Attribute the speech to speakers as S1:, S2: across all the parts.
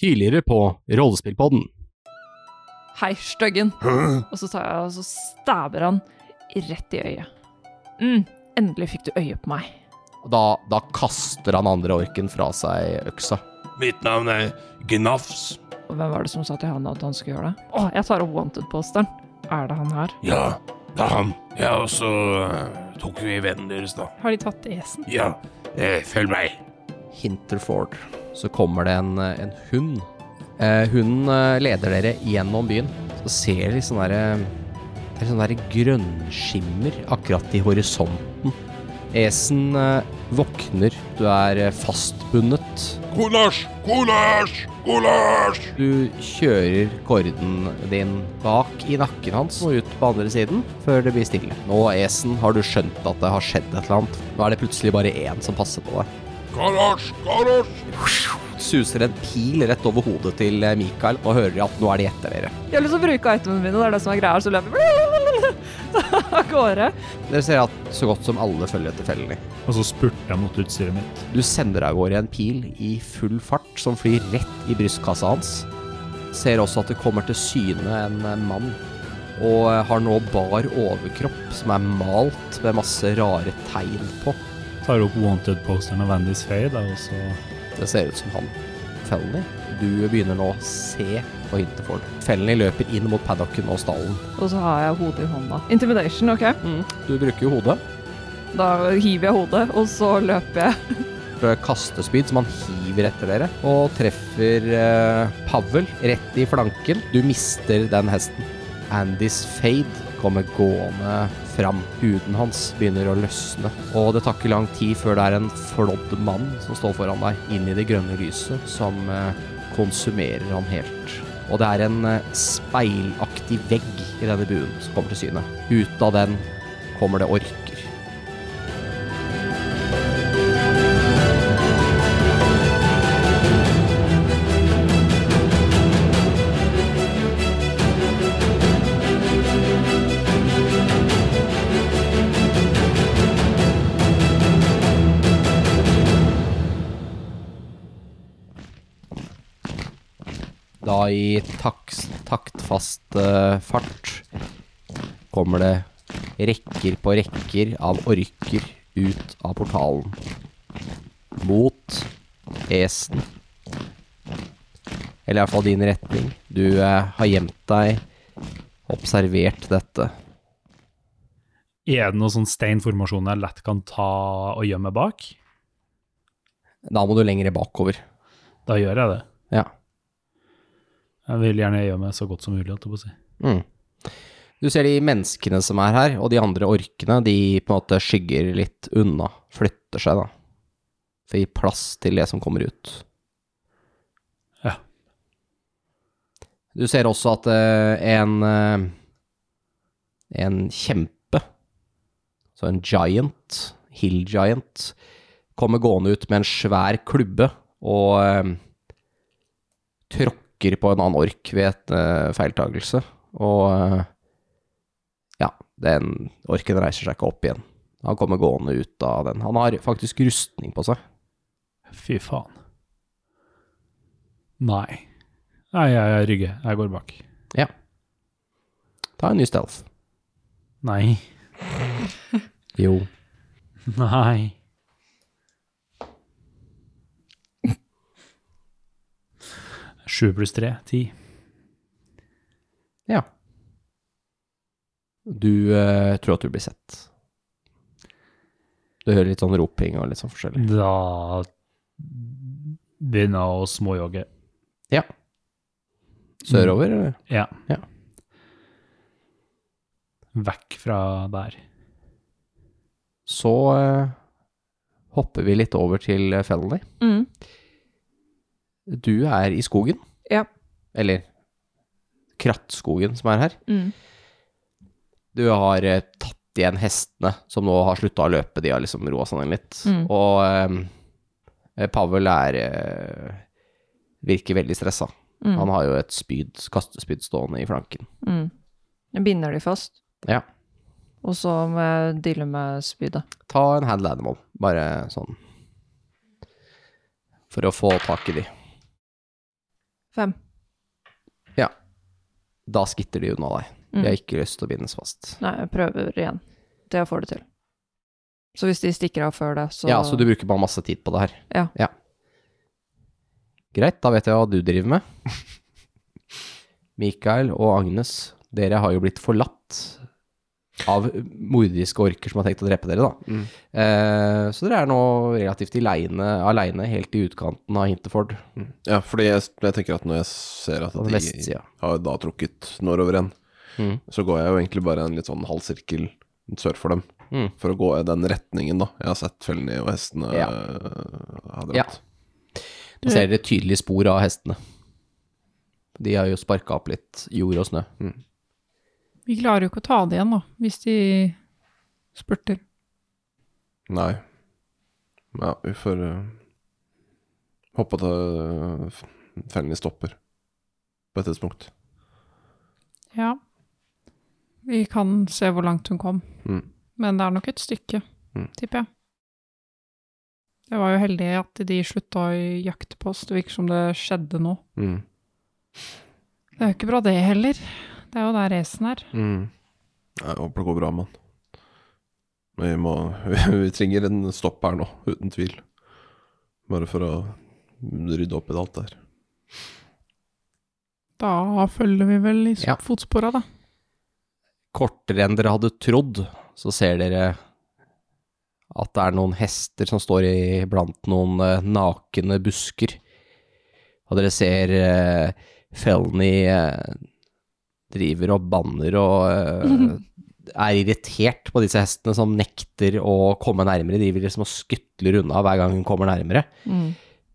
S1: tidligere på Rollespillpodden.
S2: Hei, styggen. Og så, tar jeg, og så stabber han rett i øyet. Mm, endelig fikk du øye på meg.
S3: Da, da kaster han andre orken fra seg øksa.
S4: Mitt navn er Gnafs.
S2: Og hvem var det som sa til han at han skulle gjøre det? Å, jeg tar opp wanted-posteren. Er det han her?
S4: Ja, det er han. Ja, og så eh, tok vi vennen deres, da.
S5: Har de tatt esen?
S4: Ja, eh, følg meg.
S3: Hinterford, så kommer det en, en hund. Eh, hunden eh, leder dere gjennom byen. Så ser dere litt sånn derre Det er sånn derre grønnskimmer akkurat i horisonten. Esen eh, våkner. Du er eh, fastbundet.
S4: Kolasj! Kolasj! Kolasj!
S3: Du kjører korden din bak i nakken hans og ut på andre siden før det blir stille. Nå, Esen, har du skjønt at det har skjedd et eller annet. Nå er det plutselig bare én som passer på deg.
S4: Kolasj! Kolasj!
S3: Suser en pil rett over hodet til eh, Mikael og hører at nå er de etter dere.
S2: Jeg har lyst til å bruke itemene mine, det er det som er greia. Så løper jeg av gårde.
S3: Dere ser at så godt som alle følger etter fellene.
S6: Og så spurter jeg mot utstyret mitt.
S3: Du sender av gårde en pil i full fart som flyr rett i brystkassa hans. Ser også at det kommer til syne en eh, mann, og eh, har nå bar overkropp som er malt med masse rare tegn på.
S6: Tar opp wanted-posteren av Vandys Faye, da, og så
S3: Det ser ut som han. Felny, du begynner nå å se på Hinterford. Felny løper inn mot paddocken og stallen.
S2: Og så har jeg hodet i hånda. Intimidation, OK?
S5: Mm.
S3: Du bruker jo hodet.
S2: Da hiver jeg hodet, og så løper jeg.
S3: Det er Kastespyd eh, som han hiver etter dere, og treffer eh, Pavel rett i flanken. Du mister den hesten. Andys fade kommer gående fram. Huden hans begynner å løsne, og det tar ikke lang tid før det er en flådd mann som står foran deg, inn i det grønne lyset, som eh, konsumerer han helt. Og det er en eh, speilaktig vegg i denne buen som kommer til syne. Ut av den kommer det orker. Da i taks, taktfast eh, fart kommer det rekker på rekker av orker ut av portalen. Mot Esen. Eller i hvert fall din retning. Du eh, har gjemt deg, observert dette.
S6: Er det noen sånn steinformasjon jeg lett kan ta og gjemme meg bak?
S3: Da må du lenger bakover.
S6: Da gjør jeg det.
S3: Ja.
S6: Jeg vil gjerne gjemme meg så godt som mulig, holdt jeg på å si.
S3: Mm. Du ser de menneskene som er her, og de andre orkene, de på en måte skygger litt unna, flytter seg da, for å gi plass til det som kommer ut.
S6: Ja.
S3: Du ser også at eh, en, eh, en kjempe, så en giant, hill giant, kommer gående ut med en svær klubbe og eh, tråkker på en annen ork ved et eh, feiltagelse. Og eh, ja, den orken reiser seg ikke opp igjen. Han kommer gående ut av den. Han har faktisk rustning på seg.
S6: Fy faen. Nei. Nei, jeg, jeg rygger. Jeg går bak.
S3: Ja. Ta en ny stealth.
S6: Nei.
S3: Jo.
S6: Nei. Sju pluss tre, ti.
S3: Ja. Du eh, tror at du blir sett. Du hører litt sånn roping og litt sånn
S6: Mm.
S3: forskjellig.
S6: Da begynner jeg å småjogge.
S3: Ja. Sørover, eh, eller?
S6: Ja.
S3: Ja.
S6: Vekk fra der.
S3: Så eh, hopper vi litt over til eh, Felony.
S2: Mm.
S3: Du er i skogen.
S2: Ja.
S3: Eller krattskogen som er her.
S2: Mm.
S3: Du har eh, tatt igjen hestene, som nå har slutta å løpe. De har liksom roa seg ned litt.
S2: Mm.
S3: Og eh, Pavel er eh, Virker veldig stressa.
S2: Mm.
S3: Han har jo et spyd, kastespyd stående i flanken.
S2: Mm. Jeg binder de fast,
S3: Ja.
S2: og så må jeg deale med spydet.
S3: Ta en handle animal, bare sånn. For å få tak i de.
S2: Fem.
S3: Da skitter de unna deg.
S2: Mm.
S3: De har ikke lyst til å bindes fast.
S2: Nei, jeg prøver igjen. Til jeg får det til. Så hvis de stikker av før det, så
S3: Ja, så du bruker bare masse tid på det her.
S2: Ja.
S3: Greit, da vet jeg hva du driver med. Mikael og Agnes, dere har jo blitt forlatt av mordiske orker som har tenkt å drepe dere, da. Eh, så dere er nå relativt aleine, aleine helt i utkanten av Hinterford,
S5: Ja, fordi jeg, jeg tenker at når jeg ser at
S3: på
S5: de
S3: vestsida.
S5: har da trukket nordover igjen,
S3: Mm.
S5: så går jeg jo egentlig bare en litt sånn halv sirkel sør for dem.
S3: Mm.
S5: For å gå i den retningen, da. Jeg har sett fellene eh, og hestene
S3: Ja.
S5: øh, har dratt.
S3: Ja. Da ser dere tydelige spor av hestene. De har jo sparka opp litt jord og snø.
S7: Vi klarer jo ikke å ta det igjen, da, hvis de spurter.
S5: Nei. Ja, vi får øh, håpe at øh, fellene stopper på et tidspunkt.
S7: Ja. Vi kan se hvor langt hun kom.
S5: Mm.
S7: Men det er nok et stykke,
S5: Mm.
S7: tipper jeg. Det var jo heldig at de slutta å jakte på oss. Det virker som det skjedde nå.
S5: Mm.
S7: Det er jo ikke bra, det heller. Det er jo der racen er.
S5: Mm. Jeg håper det går bra, mann. Men vi må Vi trenger en stopp her nå, uten tvil. Bare for å rydde opp i alt der.
S7: Da følger vi vel i s-
S3: Ja.
S7: fotspora, da.
S3: Kortere enn dere hadde trodd, så ser dere at det er noen hester som står i blant noen eh, nakne busker. Og dere ser eh, Felny eh, driver og banner og eh, er irritert på disse hestene som nekter å komme nærmere. De vil liksom og skytler unna hver gang hun kommer nærmere.
S2: Mm.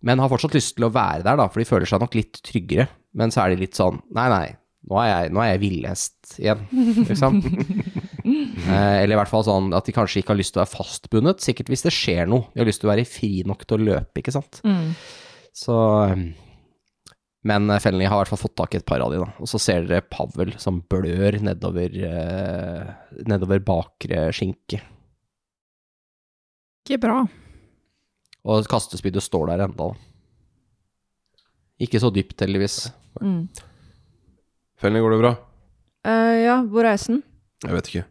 S3: Men har fortsatt lyst til å være der, da, for de føler seg nok litt tryggere. Men så er de litt sånn Nei, nei, nå er jeg, nå er jeg villhest igjen, liksom. Eh, Eller i hvert fall sånn at de kanskje ikke har lyst til å være fastbundet. Sikkert hvis det skjer noe. De har lyst til å være fri nok til å løpe, ikke sant.
S2: Mm.
S3: Så eh, Men eh, Felny har i hvert fall fått tak i et par av de, da. Og så ser dere Pavel som blør nedover, eh, nedover bakre skinke.
S7: Ikke bra.
S3: Og kastespydet står der enda, da. Ikke så dypt, heldigvis.
S2: Mm.
S5: Fellene, går det bra?
S2: Eh, ja, hvor er hesten?
S5: Jeg vet ikke.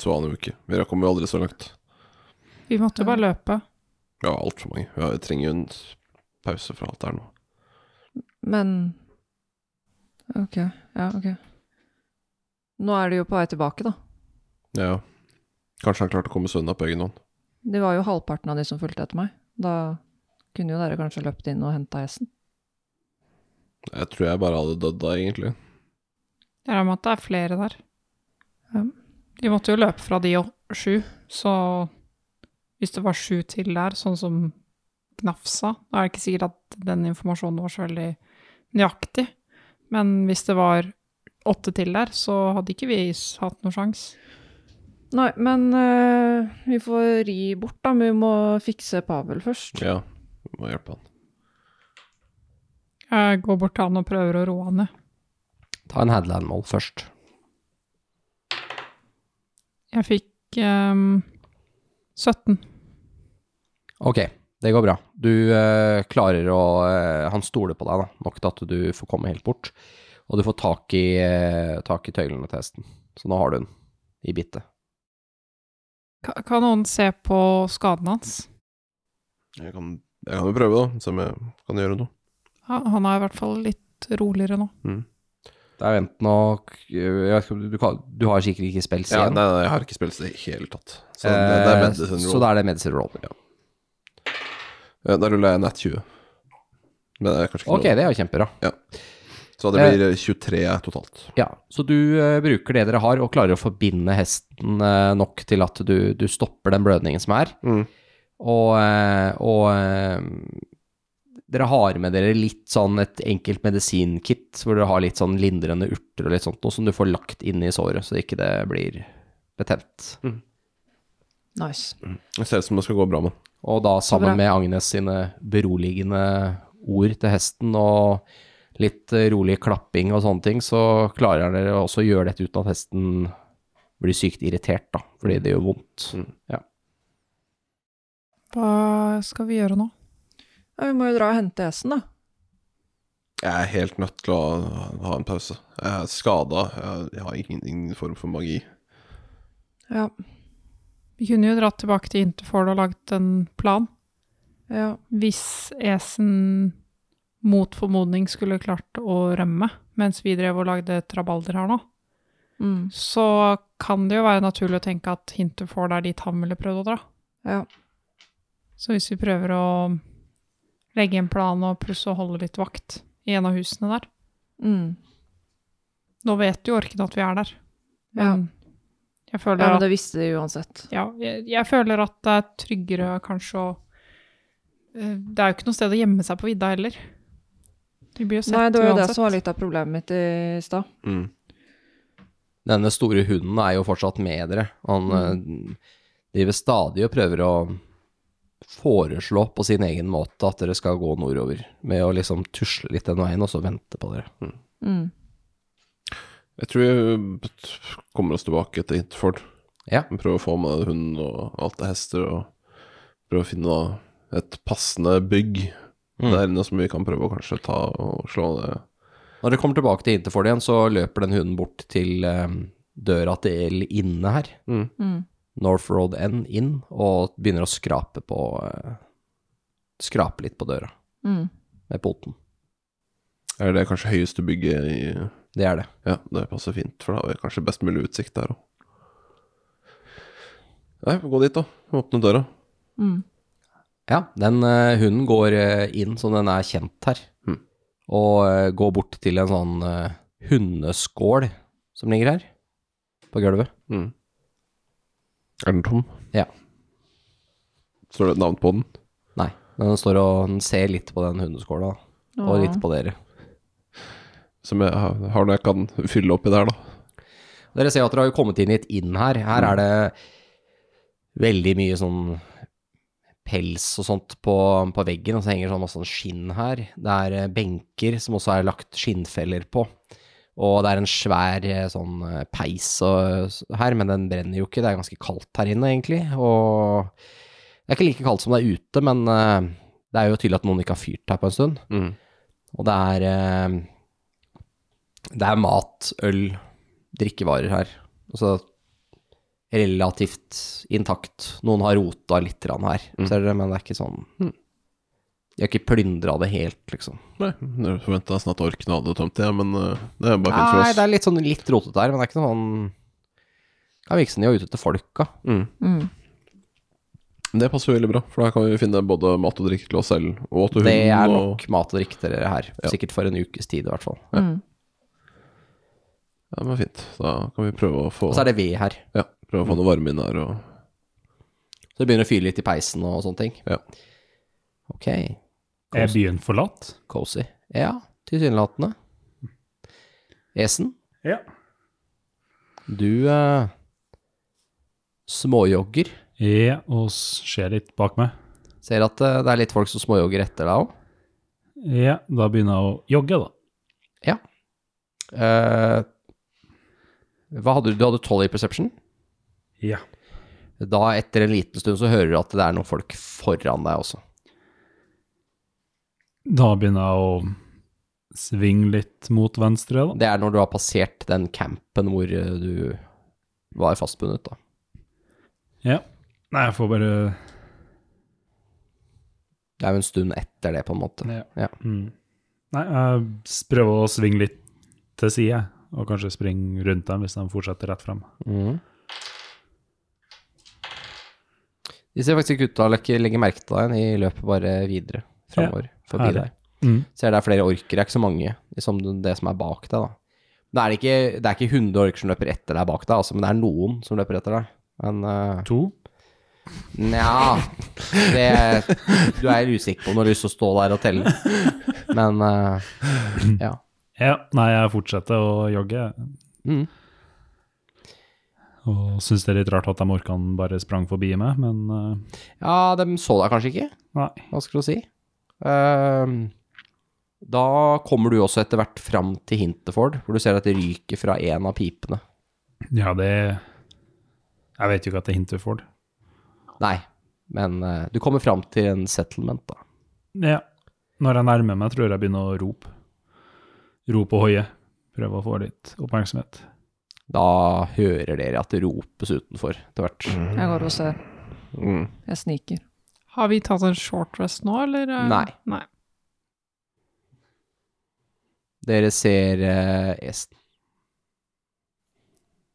S5: Så aner vi ikke. Vi rakk jo aldri så langt.
S7: Vi måtte jo bare løpe.
S5: Vi har altfor mange. Vi har- trenger jo en pause fra alt det her nå.
S2: Men Ok, ja, ok. Nå er de jo på vei tilbake, da.
S5: Ja, ja. Kanskje han klarte å komme seg unna på egen hånd.
S2: Det var jo halvparten av de som fulgte etter meg. Da kunne jo dere kanskje løpt inn og henta hesten.
S5: Jeg tror jeg bare hadde dødd da, egentlig.
S7: Det er med at det er flere der. Ehm,
S2: Ja.
S7: De måtte jo løpe fra de og sju, så hvis det var sju til der, sånn som Knafsa, da er det ikke sikkert at den informasjonen var så veldig nøyaktig. Men hvis det var åtte til der, så hadde ikke vi s- hatt noen sjans.
S2: Nei, men eh, vi får ri bort, da. Men vi må fikse Pavel først.
S5: Ja, vi må hjelpe han.
S7: Jeg går bort til han og prøver å roe han ned.
S3: Ta en headland-mål først.
S7: Jeg fikk ehm, 17.
S3: Ok, det går bra. Du eh, klarer å eh, Han stoler på deg da, nok til at du får komme helt bort. Og du får tak i, eh, tak i tøylene til hesten. Så nå har du den i bittet.
S7: Ka- Kan noen se på skaden hans?
S5: Jeg kan, jeg kan jo prøve, da. Se om jeg kan gjøre noe.
S7: Han han er i hvert fall litt roligere nå.
S3: Det er jo enten å k- jeg vet ikke om du, du, kan, du har sikkert ikke spells
S5: Ja,
S3: igjen.
S5: nei, nei, jeg har ikke spilt det i det hele tatt. Så det, det er
S3: Eh,
S5: medicine roll.
S3: Så da er det medicine roll.
S5: Ja, da ruller jeg nat 20. Men det er kanskje ikke
S3: Ok, det er jo kjempebra.
S5: noe. Så det blir 23 totalt.
S3: Ja, så du eh, bruker det dere har og klarer å forbinde hesten eh, nok til at du, du stopper den blødningen som er.
S5: Mm.
S3: Og, eh, og eh, dere har med dere litt sånn et enkelt medisinkit hvor dere har litt sånn lindrende urter og litt sånt noe som du får lagt inn i såret, så ikke det blir betent.
S2: Nice.
S5: Det ser ut som det skal gå bra, mann.
S3: Og da sammen
S2: bra.
S3: med Agnes sine beroligende ord til hesten og litt eh, rolig klapping og sånne ting, så klarer dere også å gjøre dette uten at hesten blir sykt irritert, da, fordi det gjør vondt.
S7: Hva skal vi gjøre nå?
S2: Ja, vi må jo dra og hente hesten, da.
S5: Jeg er helt nødt til å ha en pause. Jeg er skada. Jeg, jeg har ingen, ingen form for magi.
S7: Ja. Vi kunne jo dratt tilbake til Interford og laget en plan.
S2: Ja.
S7: Hvis Esen mot formodning skulle klart å rømme mens vi drev og lagde trabalder her nå,
S2: Mm.
S7: så kan det jo være naturlig å tenke at Hinterford er dit han ville prøvd å dra.
S2: Ja.
S7: Så hvis vi prøver å legge en plan og pluss å holde litt vakt i en av husene der
S2: Mm.
S7: Nå vet jo Orken at vi er der.
S2: Ja.
S7: Men jeg
S2: ja,
S7: føler
S2: men
S7: at
S2: det visste de uansett.
S7: ja, jeg, jeg føler at det er tryggere kanskje å eh, Det er jo ikke noe sted å gjemme seg på vidda heller. Vi blir jo sett
S2: Nei, det var jo det
S7: uansett.
S2: som var litt av problemet mitt i stad.
S5: Mm.
S3: Denne store hunden er jo fortsatt med dere. Han eh, driver stadig og prøver å foreslå på sin egen måte at dere skal gå nordover, med å liksom tusle litt den veien og så vente på dere.
S2: Mm.
S5: Jeg tror jeg eh, kommer oss tilbake til Interford.
S3: Ja.
S5: Prøve å få med hunden og alt av hester, og prøve å finne et passende bygg
S3: Mm.
S5: der inne som vi kan prøve å kanskje ta og slå ned.
S3: Når dere kommer tilbake til Interford igjen, så løper den hunden bort til eh, døra til inne her,
S2: Mm.
S3: North Road End inn, og begynner å skrape på eh, Skrape litt på døra
S2: Mm.
S3: med poten.
S5: Er det kanskje høyeste bygget i
S3: Det er det.
S5: Ja, det passer fint, for da har vi kanskje best mulig utsikt der òg. Nei, gå dit, da. Åpne døra.
S2: Mm.
S3: Ja, den eh, hunden går eh, inn som den er kjent her,
S5: Mm.
S3: og eh, går bort til en sånn eh, hundeskål som ligger her, på gulvet.
S5: Mm. Er den tom?
S3: Ja.
S5: Står det et navn på den?
S3: Nei, men den står og den ser litt på den hundeskåla, og litt på dere.
S5: Som jeg har har noe jeg kan fylle oppi der, da.
S3: Dere ser jo at dere har jo kommet inn i et inn her. Her er det veldig mye sånn pels og sånt på, på veggen, og så henger sånn masse sånn skinn her. Det er eh, benker som også er lagt skinnfeller på. Og det er en svær eh, sånn eh, peis og, s- her, men den brenner jo ikke. Det er ganske kaldt her inne, egentlig. Og det er ikke like kaldt som det er ute, men eh, det er jo tydelig at noen ikke har fyrt her på en stund. Og det er eh, Det er mat, øl, drikkevarer her. Altså relativt intakt. Noen har rota litt grann her,
S5: Mm.
S3: ser dere, men det er ikke sånn De har ikke plyndra det helt, liksom.
S5: Nei, jeg forventa nesten at orken hadde tømt det, men eh, det er
S3: Nei,
S5: bare fint
S3: det
S5: for oss.
S3: er litt sånn litt rotete her, men det er ikke noe sånn Kan virke som de er ute etter folka.
S5: Mm.
S2: Mm.
S5: Det passer jo veldig bra, for da kan vi finne både mat og drikke til oss selv og til hunden.
S3: Det er
S5: og-
S3: nok mat og drikke til dere her. Sikkert for en ukes tid, i hvert fall.
S2: Mm.
S5: Ja, men fint. Da kan vi prøve å få,
S3: Og så er det ved her.
S5: ja, prøve å få noe varme inn her. Og...
S3: Så det begynner å fyre litt i peisen og sånne ting.
S5: Ja.
S3: Ok,
S6: Er byen forlatt?
S3: cozy. Ja, tilsynelatende. Esen?
S6: Ja.
S3: Du eh, småjogger.
S6: Ja, og ser litt bak meg.
S3: Ser at eh, det er litt folk som småjogger etter deg òg.
S6: Ja, da begynner jeg å jogge, da.
S3: Eh, hva hadde du? Du hadde 12 i perception.
S6: Ja.
S3: Da, etter en liten stund, så hører du at det er noen folk foran deg også.
S6: Da begynner jeg å svinge litt mot venstre, da.
S3: Det er når du har passert den campen hvor eh, du var fastbundet, da.
S6: Ja. Nei, jeg får bare
S3: Det er jo en stund etter det, på en måte.
S6: Ja.
S3: Ja.
S6: Mm. Nei, jeg s- prøver å svinge litt til side, og kanskje springe rundt dem hvis de fortsetter rett frem.
S3: De ser faktisk ikke ut til å legge- legge merke til deg. De løper bare videre framover forbi
S6: herlig.
S3: deg.
S6: Mm.
S3: Ser det er flere orker, det er ikke så mange som det som er bak deg, da. Men Det er, ikke, det er ikke 100 orker som løper etter deg bak deg, altså, men det er noen som løper etter deg. Men eh,
S6: To.
S3: Nja det, Du er usikker på om du har lyst til å stå der og telle. Men eh, ja.
S6: Ja, nei, jeg fortsetter å jogge.
S3: Mm.
S6: Og syns det er litt rart at de orkene bare sprang forbi meg, men eh,
S3: ja, de så deg kanskje ikke.
S6: nei.
S3: hva skal du si? Ehm, da kommer du også etter hvert fram til Hinterford, hvor du ser at det ryker fra en av pipene.
S6: Ja, det Jeg vet jo ikke at det er Hinterford.
S3: Nei, men eh, du kommer fram til en settlement, da.
S6: Ja. Når jeg nærmer meg, tror jeg jeg begynner å rope. rop og hoie. Prøve å få litt oppmerksomhet.
S3: Da hører dere at det ropes utenfor etter hvert.
S2: Jeg går og ser.
S5: Mm.
S2: Jeg sniker.
S7: Har vi tatt en short rest nå, eller? eh?
S3: Nei.
S7: Nei.
S3: Dere ser eh, Est.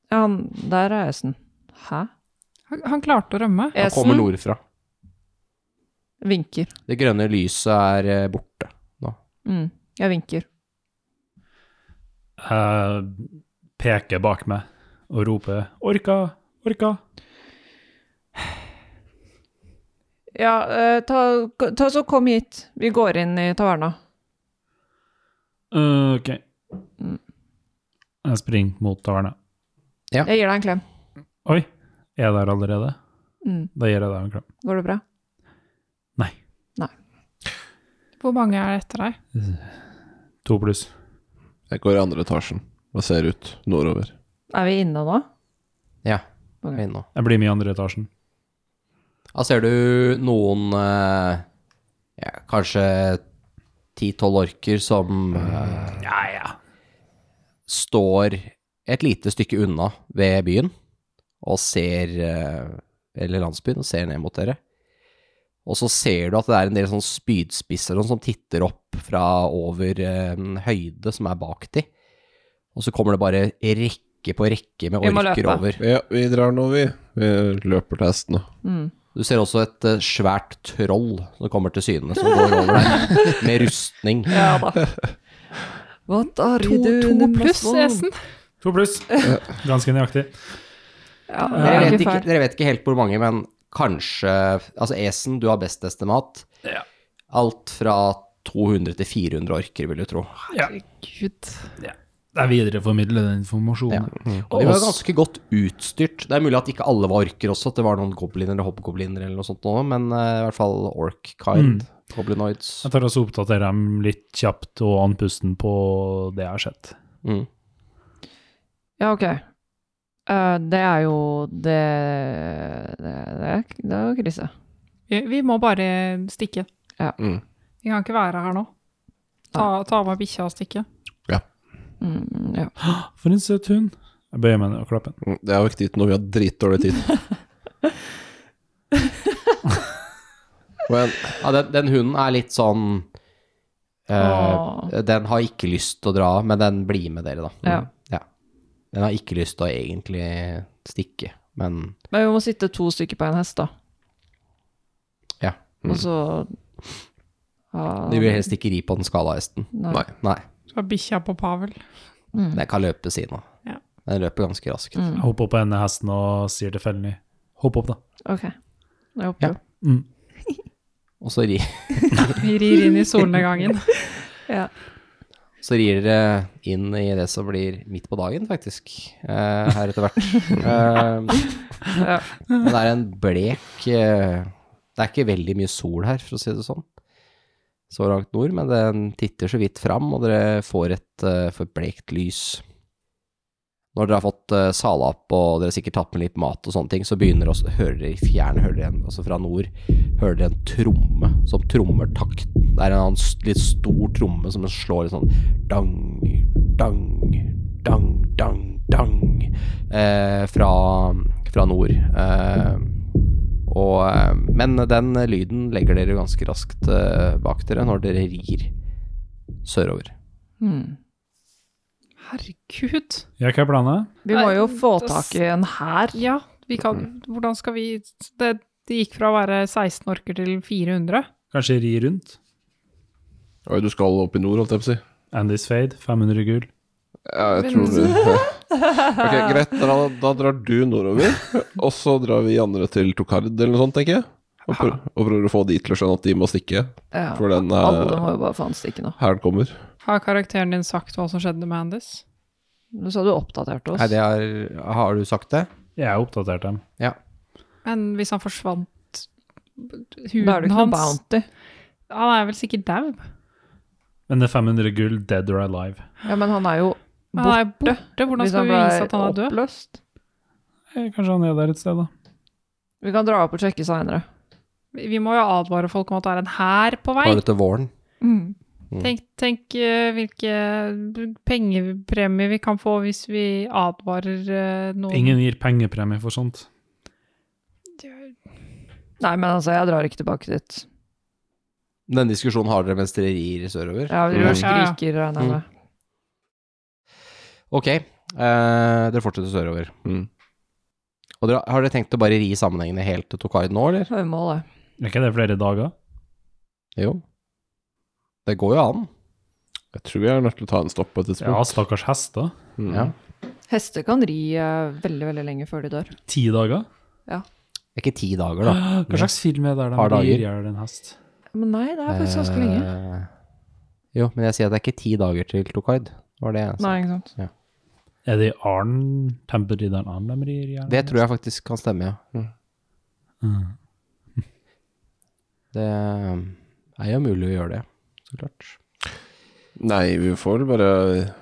S2: Ja, han, der er Esen. Hæ?
S7: Han, han klarte å rømme.
S3: Han kommer
S2: Esen
S3: nordfra.
S2: vinker.
S3: Det grønne lyset er eh, borte.
S2: Mm, jeg vinker.
S6: Jeg peker bak meg og roper 'orka, orka'.
S2: Ja, eh, ta, ta så kom hit. Vi går inn i taverna.
S6: Eh, ok.
S2: Mm.
S6: Jeg springer mot taverna.
S2: Jeg gir deg en klem.
S6: Oi, er jeg der allerede?
S2: Mm,
S6: Da gir jeg deg en klem.
S2: går det bra?
S6: Nei.
S7: Hvor mange er etter deg?
S6: To pluss.
S5: Jeg går i andre etasjen og ser ut nordover.
S2: Er vi inne nå?
S3: Ja.
S2: Ok.
S3: inn nå.
S6: Jeg blir med i andre etasjen.
S3: Da ser du noen eh, ja, kanskje ti-tolv orker som eh,
S6: Ja, ja.
S3: står et lite stykke unna ved byen og ser eh, Eller landsbyen og ser ned mot dere. Og så ser du at det er en del sånn spydspisser og sånn som titter opp fra over eh, en høyde som er bak de. Og så kommer det bare rekke på rekke med
S2: Vi må
S3: orker
S2: løpe.
S3: over.
S5: Ja, vi drar nå, vi. Vi løper til hestene.
S2: Mm.
S3: Du ser også et eh, svært troll som kommer til syne, som går over deg med rustning.
S2: Ja da. What are
S7: To,
S2: you doing
S7: to
S2: in my
S7: pluss,
S2: swamp?
S7: Esen.
S6: To pluss. Ganske nøyaktig.
S2: Ja, det
S3: Dere
S2: er
S3: vet,
S2: ikke
S3: ikke,
S2: fair.
S3: dere vet ikke helt hvor mange, men kanskje Altså, Esen, du har best estimat.
S6: Ja.
S3: Alt fra 200 til 400 orker, vil du tro.
S2: Herregud.
S6: Jeg videreformidler den
S3: Ja.
S6: informasjonen.
S3: Og de var ganske godt utstyrt. Det er mulig at ikke alle var orker også, at det var noen gobliner eller hobgobliner eller noe sånt nå, men eh, i hvert fall ork-kind.
S2: Mm.
S3: Goblinoids.
S6: Jeg tar også oppdaterer dem litt kjapt og andpusten på det jeg har sett.
S3: Mm.
S2: Ja, ok. Eh, det er jo det Det, det, er, det er jo krise.
S7: Vi, vi må bare stikke.
S2: Ja.
S5: Mm.
S7: Vi kan ikke være her nå. Ta, ta med bikkja og stikke.
S2: Mm, ja.
S6: For en søt hund. Jeg bøyer meg ned og klapper.
S5: Mm, Det er jo ikke tid til noe, vi har dritdårlig tid. Men
S3: Ja, den, den hunden er litt sånn eh,
S2: Åh.
S3: Den har ikke lyst til å dra, men den blir med dere, da. Mm.
S2: Ja.
S3: Den har ikke lyst til å egentlig stikke, men
S2: Men vi må sitte to stykker på en hest, da.
S3: Ja.
S2: Og så ja,
S3: du vil helst ikke ri på den skala hesten.
S2: Nei. Mm.
S3: Nei.
S7: Så er bikkja på Pavel.
S3: Den kan løpe siden av.
S7: Ja.
S3: Den løper ganske raskt.
S6: Jeg hopper opp på enden av hesten og sier til Felny Hopp opp, da.
S2: Ok. Jeg håper
S3: Ja.
S2: det.
S6: Mm.
S3: Og så, ri,
S7: Vi rir inn i solnedgangen.
S3: så rir dere inn i det som blir midt på dagen, faktisk, eh, her etter hvert. Eh,
S2: Ja.
S3: Men det er en blek eh, Det er ikke veldig mye sol her, for å si det sånn. Så langt nord, men den titter så vidt fram, og dere får et eh, forblekt lys. Når dere har fått eh, sala opp, og dere har sikkert tatt med litt mat og sånne ting, så begynner også, hører dere i fjern, hører dere en, altså fra nord, hører dere en tromme som trommer takten. Det er en annen s- litt stor tromme som slår litt sånn dang, dang, dang, dang, dang eh, fra, fra nord. Eh, og, eh, men den lyden legger dere jo ganske raskt eh, bak dere når dere rir sørover.
S2: Mm.
S7: Herregud.
S6: Ja, hva er planen?
S2: Vi må
S7: Nei,
S2: jo få
S7: da s-
S2: tak i en hær.
S7: Ja, vi kan Hvordan skal vi Det, det gikk fra å være 16 orker til 400.
S6: Kanskje ri rundt?
S5: oi, du skal opp i nord, holdt jeg på å si.
S6: Andy's Fade, 500 gull.
S5: Ja, jeg tror det. Ok, Greit, da, da drar du nordover, og så drar vi andre til Tokard eller noe sånt, tenker jeg. Og, prø og prøver å få de til å skjønne at de må stikke,
S2: Ja.
S5: for den
S2: Alle
S5: eh,
S2: må jo bare faen stikke nå.
S5: hæren kommer.
S7: Har karakteren din sagt hva som skjedde med Andis?
S2: Nå sa du oppdaterte oss.
S3: Nei, det er, har du sagt det?
S6: Jeg har oppdatert dem.
S7: Men hvis han forsvant
S2: da er det
S7: Huden
S2: ikke noe
S7: hans
S2: bounty.
S7: Han er vel sikkert dau?
S6: Men det er 500 gull, dead or alive.
S2: Ja, men han er jo
S7: Han er borte.
S2: borte.
S7: Hvordan
S2: Hvis
S7: skal
S2: han
S7: vi vise at han
S2: blir
S7: er død?
S2: oppløst.
S6: Eh, Kanskje han er der et sted, da.
S2: Vi kan dra opp og sjekke seinere.
S7: Vi vi må jo advare folk om at det er en hær på vei.
S3: Var det til våren?
S7: Mm. Tenk, tenk eh, hvilke pengepremier vi kan få hvis vi advarer eh, noen.
S6: Ingen gir pengepremie for sånt.
S2: Nei, men altså, jeg drar ikke tilbake dit.
S3: Denne diskusjonen har dere mens dere rir sørover.
S2: Jeg driver og
S7: Ja, ja.
S2: skriker, regner
S3: Mm.
S2: jeg med.
S3: Ok, eh, dere fortsetter sørover.
S5: Mm.
S3: Og dere, har dere tenkt å bare ri sammenhengende helt til Tokard nå, eller?
S2: Høymål, det.
S6: Er ikke det flere dager?
S3: Jo. Det går jo an.
S5: Jeg tror jeg er nødt til å ta en stopp på et
S6: Ja,
S5: tidspunkt.
S6: stakkars hester.
S5: Mm.
S3: Ja.
S2: Hester kan ri eh, veldig, veldig lenge før de dør.
S6: Ti dager?
S3: Det er ikke ti dager, da.
S6: Hva slags film er det der
S3: Par
S6: de
S3: dager.
S6: gir ihjel en hest?
S2: Men nei, det er faktisk ganske lenge.
S3: Eh, Jo, men jeg sier at det er ikke ti dager til Tokard. Var det jeg sa.
S2: Nei, ikke sant.
S6: Er det i Arn, Tempelridderen Arn de rir ihjel?
S3: Det tror jeg faktisk kan stemme, ja.
S6: Mm.
S3: Det eh, er jo mulig å gjøre det, så klart.
S5: Nei, vi får vel bare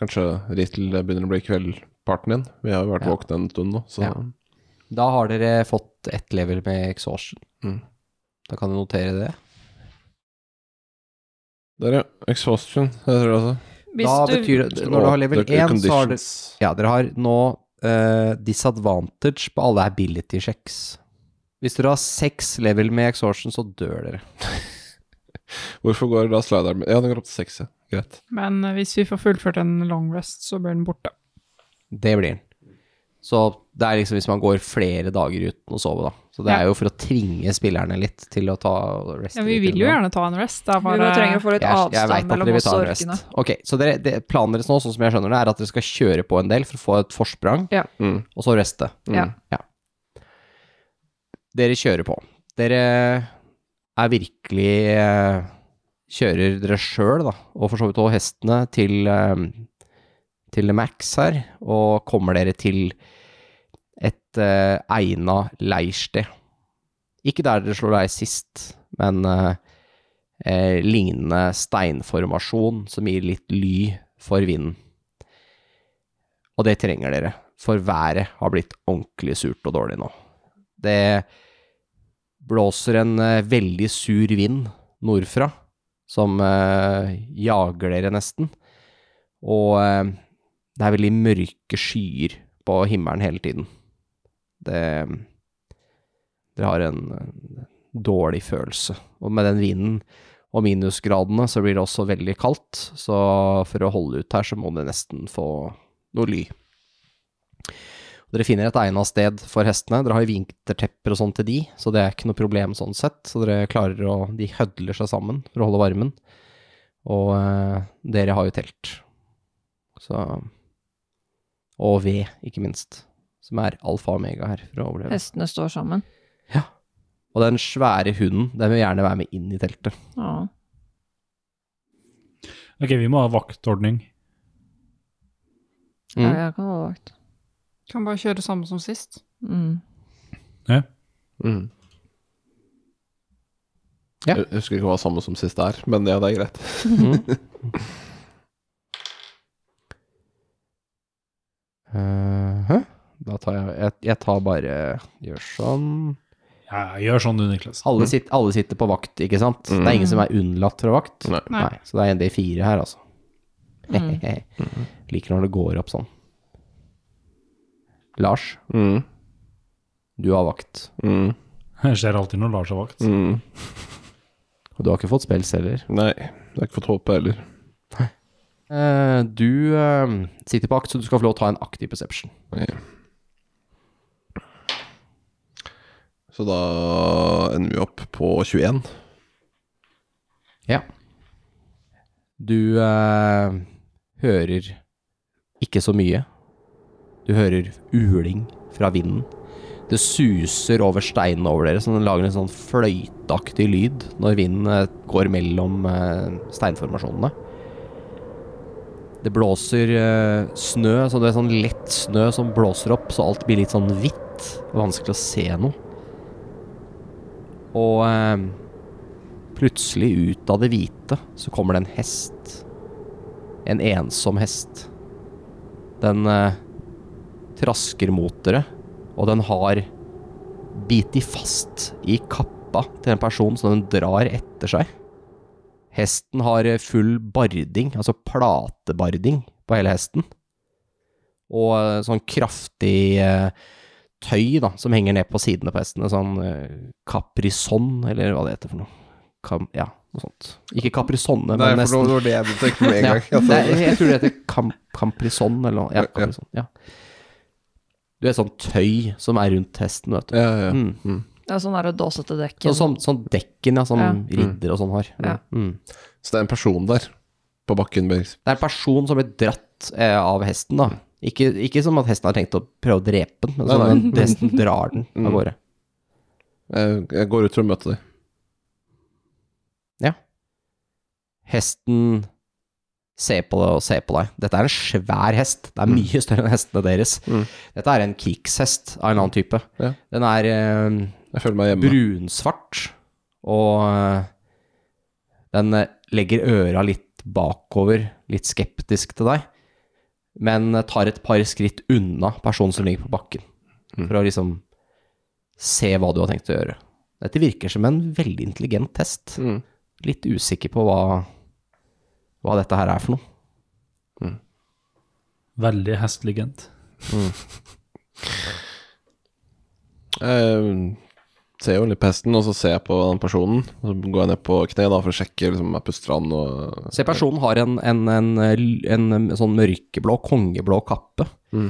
S5: kanskje ri til det begynner å bli kveldparten igjen. Vi har jo vært
S3: Ja.
S5: våkne en stund nå, så
S3: Ja. Da har dere fått ett level med exhaustion.
S5: Mm.
S3: Da kan du notere det.
S5: Der, ja. Exhaustion, det tror jeg altså.
S3: da
S2: Hvis du
S3: betyr det Når du har level
S5: Og the
S3: 1, så har dere
S5: conditions.
S3: Ja, dere har nå eh, disadvantage på alle ability checks. Hvis dere har seks level med exhaustion, så dør dere.
S5: Hvorfor går da slideren min Ja, den går opp til seks, ja. Greit.
S7: Men eh, hvis vi får fullført en long rest, så blir den borte.
S3: Det blir den. Så det er liksom hvis man går flere dager uten å sove, da. Så det
S7: Ja.
S3: er jo for å tvinge spillerne litt til å ta rest.
S7: Ja, vi vil jo gjerne ta en rest. Det er
S2: Vi bare trenger å
S7: bare
S2: få litt
S3: jeg, jeg
S2: avstand
S3: vet at
S2: mellom
S3: dere vil
S2: oss
S3: ta
S2: og
S3: en rest.
S2: orkene.
S3: Ok, så dere, det, planen deres nå, sånn som jeg skjønner det, er at dere skal kjøre på en del for å få et forsprang,
S2: Ja.
S5: Mm.
S3: og så reste. Mm.
S2: Ja.
S3: Dere kjører på. Dere er virkelig eh, Kjører dere sjøl, da, og for så vidt også hestene, til, eh, til Max her, og kommer dere til et eh, egna leirsted. Ikke der dere slår leir sist, men eh, eh, lignende steinformasjon som gir litt ly for vinden. Og det trenger dere, for været har blitt ordentlig surt og dårlig nå. Det blåser en eh, veldig sur vind nordfra, som eh, jager dere nesten. Og eh, det er veldig mørke skyer på himmelen hele tiden. Det Dere har en eh, dårlig følelse. Og med den vinden og minusgradene så blir det også veldig kaldt, så for å holde ut her så må dere nesten få noe ly. Dere finner et egnet sted for hestene. Dere har jo vintertepper og sånn til de, så det er ikke noe problem sånn sett. Så dere klarer å De hødler seg sammen for å holde varmen. Og eh, dere har jo telt. Så Og ved, ikke minst. Som er alfa og omega her for å overleve.
S2: Hestene står sammen.
S3: Og den svære hunden, den vil gjerne være med inn i teltet.
S2: Ja.
S6: Ok, vi må ha vaktordning.
S3: Mm.
S2: Ja, jeg kan holde vakt.
S7: Kan bare kjøre samme som sist.
S2: Mm.
S5: Mm.
S3: Ja.
S5: Jeg husker ikke hva samme som sist er, men ja, det er greit.
S3: Eh, hæ? Da tar jeg Jeg, jeg tar bare Gjør sånn.
S6: Ja, ja, gjør sånn du, Niklas.
S3: Alle, sitt, alle sitter på vakt, ikke sant?
S5: Mm.
S3: Det er ingen som er unnlatt fra vakt.
S5: Nei.
S7: Nei.
S3: så det er en D4 her, altså.
S2: Mm.
S3: Liker når det går opp sånn. Lars,
S5: Mm.
S3: du har vakt.
S5: Mm.
S6: Det skjer alltid når Lars har vakt.
S5: Mm.
S3: Og du har ikke fått spels heller.
S5: Nei, jeg har ikke fått håpe heller.
S3: Eh, du eh, sitter på akt, så du skal få lov å ta en aktiv perception.
S5: Så da ender vi opp på 21.
S3: Ja. Du eh, hører ikke så mye. Du hører uling fra vinden. Det suser over steinen over dere, så den lager en sånn fløyteaktig lyd når vinden eh, går mellom eh, steinformasjonene. Det blåser eh, snø, så det er sånn lett snø som blåser opp, så alt blir litt sånn hvitt. Vanskelig å se noe. Og eh, Plutselig ut av det hvite så kommer det en hest. En ensom hest. Den eh, trasker mot dere, og den har bitt fast i kappa til en person som den drar etter seg. Hesten har eh, full barding, altså platebarding på hele hesten. Og eh, sånn kraftig eh, tøy da, som henger ned på sidene på hestene, sånn eh, caprisonne, eller hva det heter for noe. Kam, ja, noe sånt. Ikke caprisonne,
S5: Nei,
S3: men
S5: for
S3: nesten.
S5: det var det jeg tenkte med en gang. Altså,
S3: Ja.
S5: At
S3: Nei,
S5: det-
S3: jeg tror det heter kam, caprison, eller noe. Ja,
S5: Ja, ja.
S3: caprison, ja. Du vet sånn tøy som er rundt hesten, vet du.
S5: ja, ja.
S3: Mm.
S2: Det er sånn der dåsete dekk.
S3: Så, sånn, sånn dekken, ja, som
S2: Ja.
S3: ridder og sånn har.
S2: Ja.
S3: Mm.
S5: Så det er en person der, på bakken bak.
S3: Det er en person som blir dratt eh, av hesten, da. Ikke, ikke som at hesten har tenkt å prøve å drepe den, men
S5: Nei,
S3: som
S5: nei. Mm.
S3: at hesten drar den av gårde.
S5: Jeg, jeg går ut for å møte deg.
S3: Hesten ser på deg og ser på deg. Dette er en svær hest. Det er mye større enn hestene deres.
S5: Mm.
S3: Dette er en krigshest av en annen type.
S5: Ja.
S3: Den er eh,
S5: Jeg føler meg hjemme.
S3: brunsvart, og eh, den eh, legger øra litt bakover, litt skeptisk til deg, men eh, tar et par skritt unna personen som ligger på bakken, for å liksom se hva du har tenkt å gjøre. Dette virker som en veldig intelligent test.
S5: Mm.
S3: Litt usikker på hva, hva dette her er for noe.
S6: Veldig hestligent.
S5: Jeg Eh, ser jo litt på hesten, og så ser jeg på den personen. Og så går jeg ned på kne da, for å sjekke liksom, om jeg er på strand og
S3: Se, personen har en, en, en, eh, l- en, eh, sånn mørkeblå, kongeblå kappe,
S5: Mm.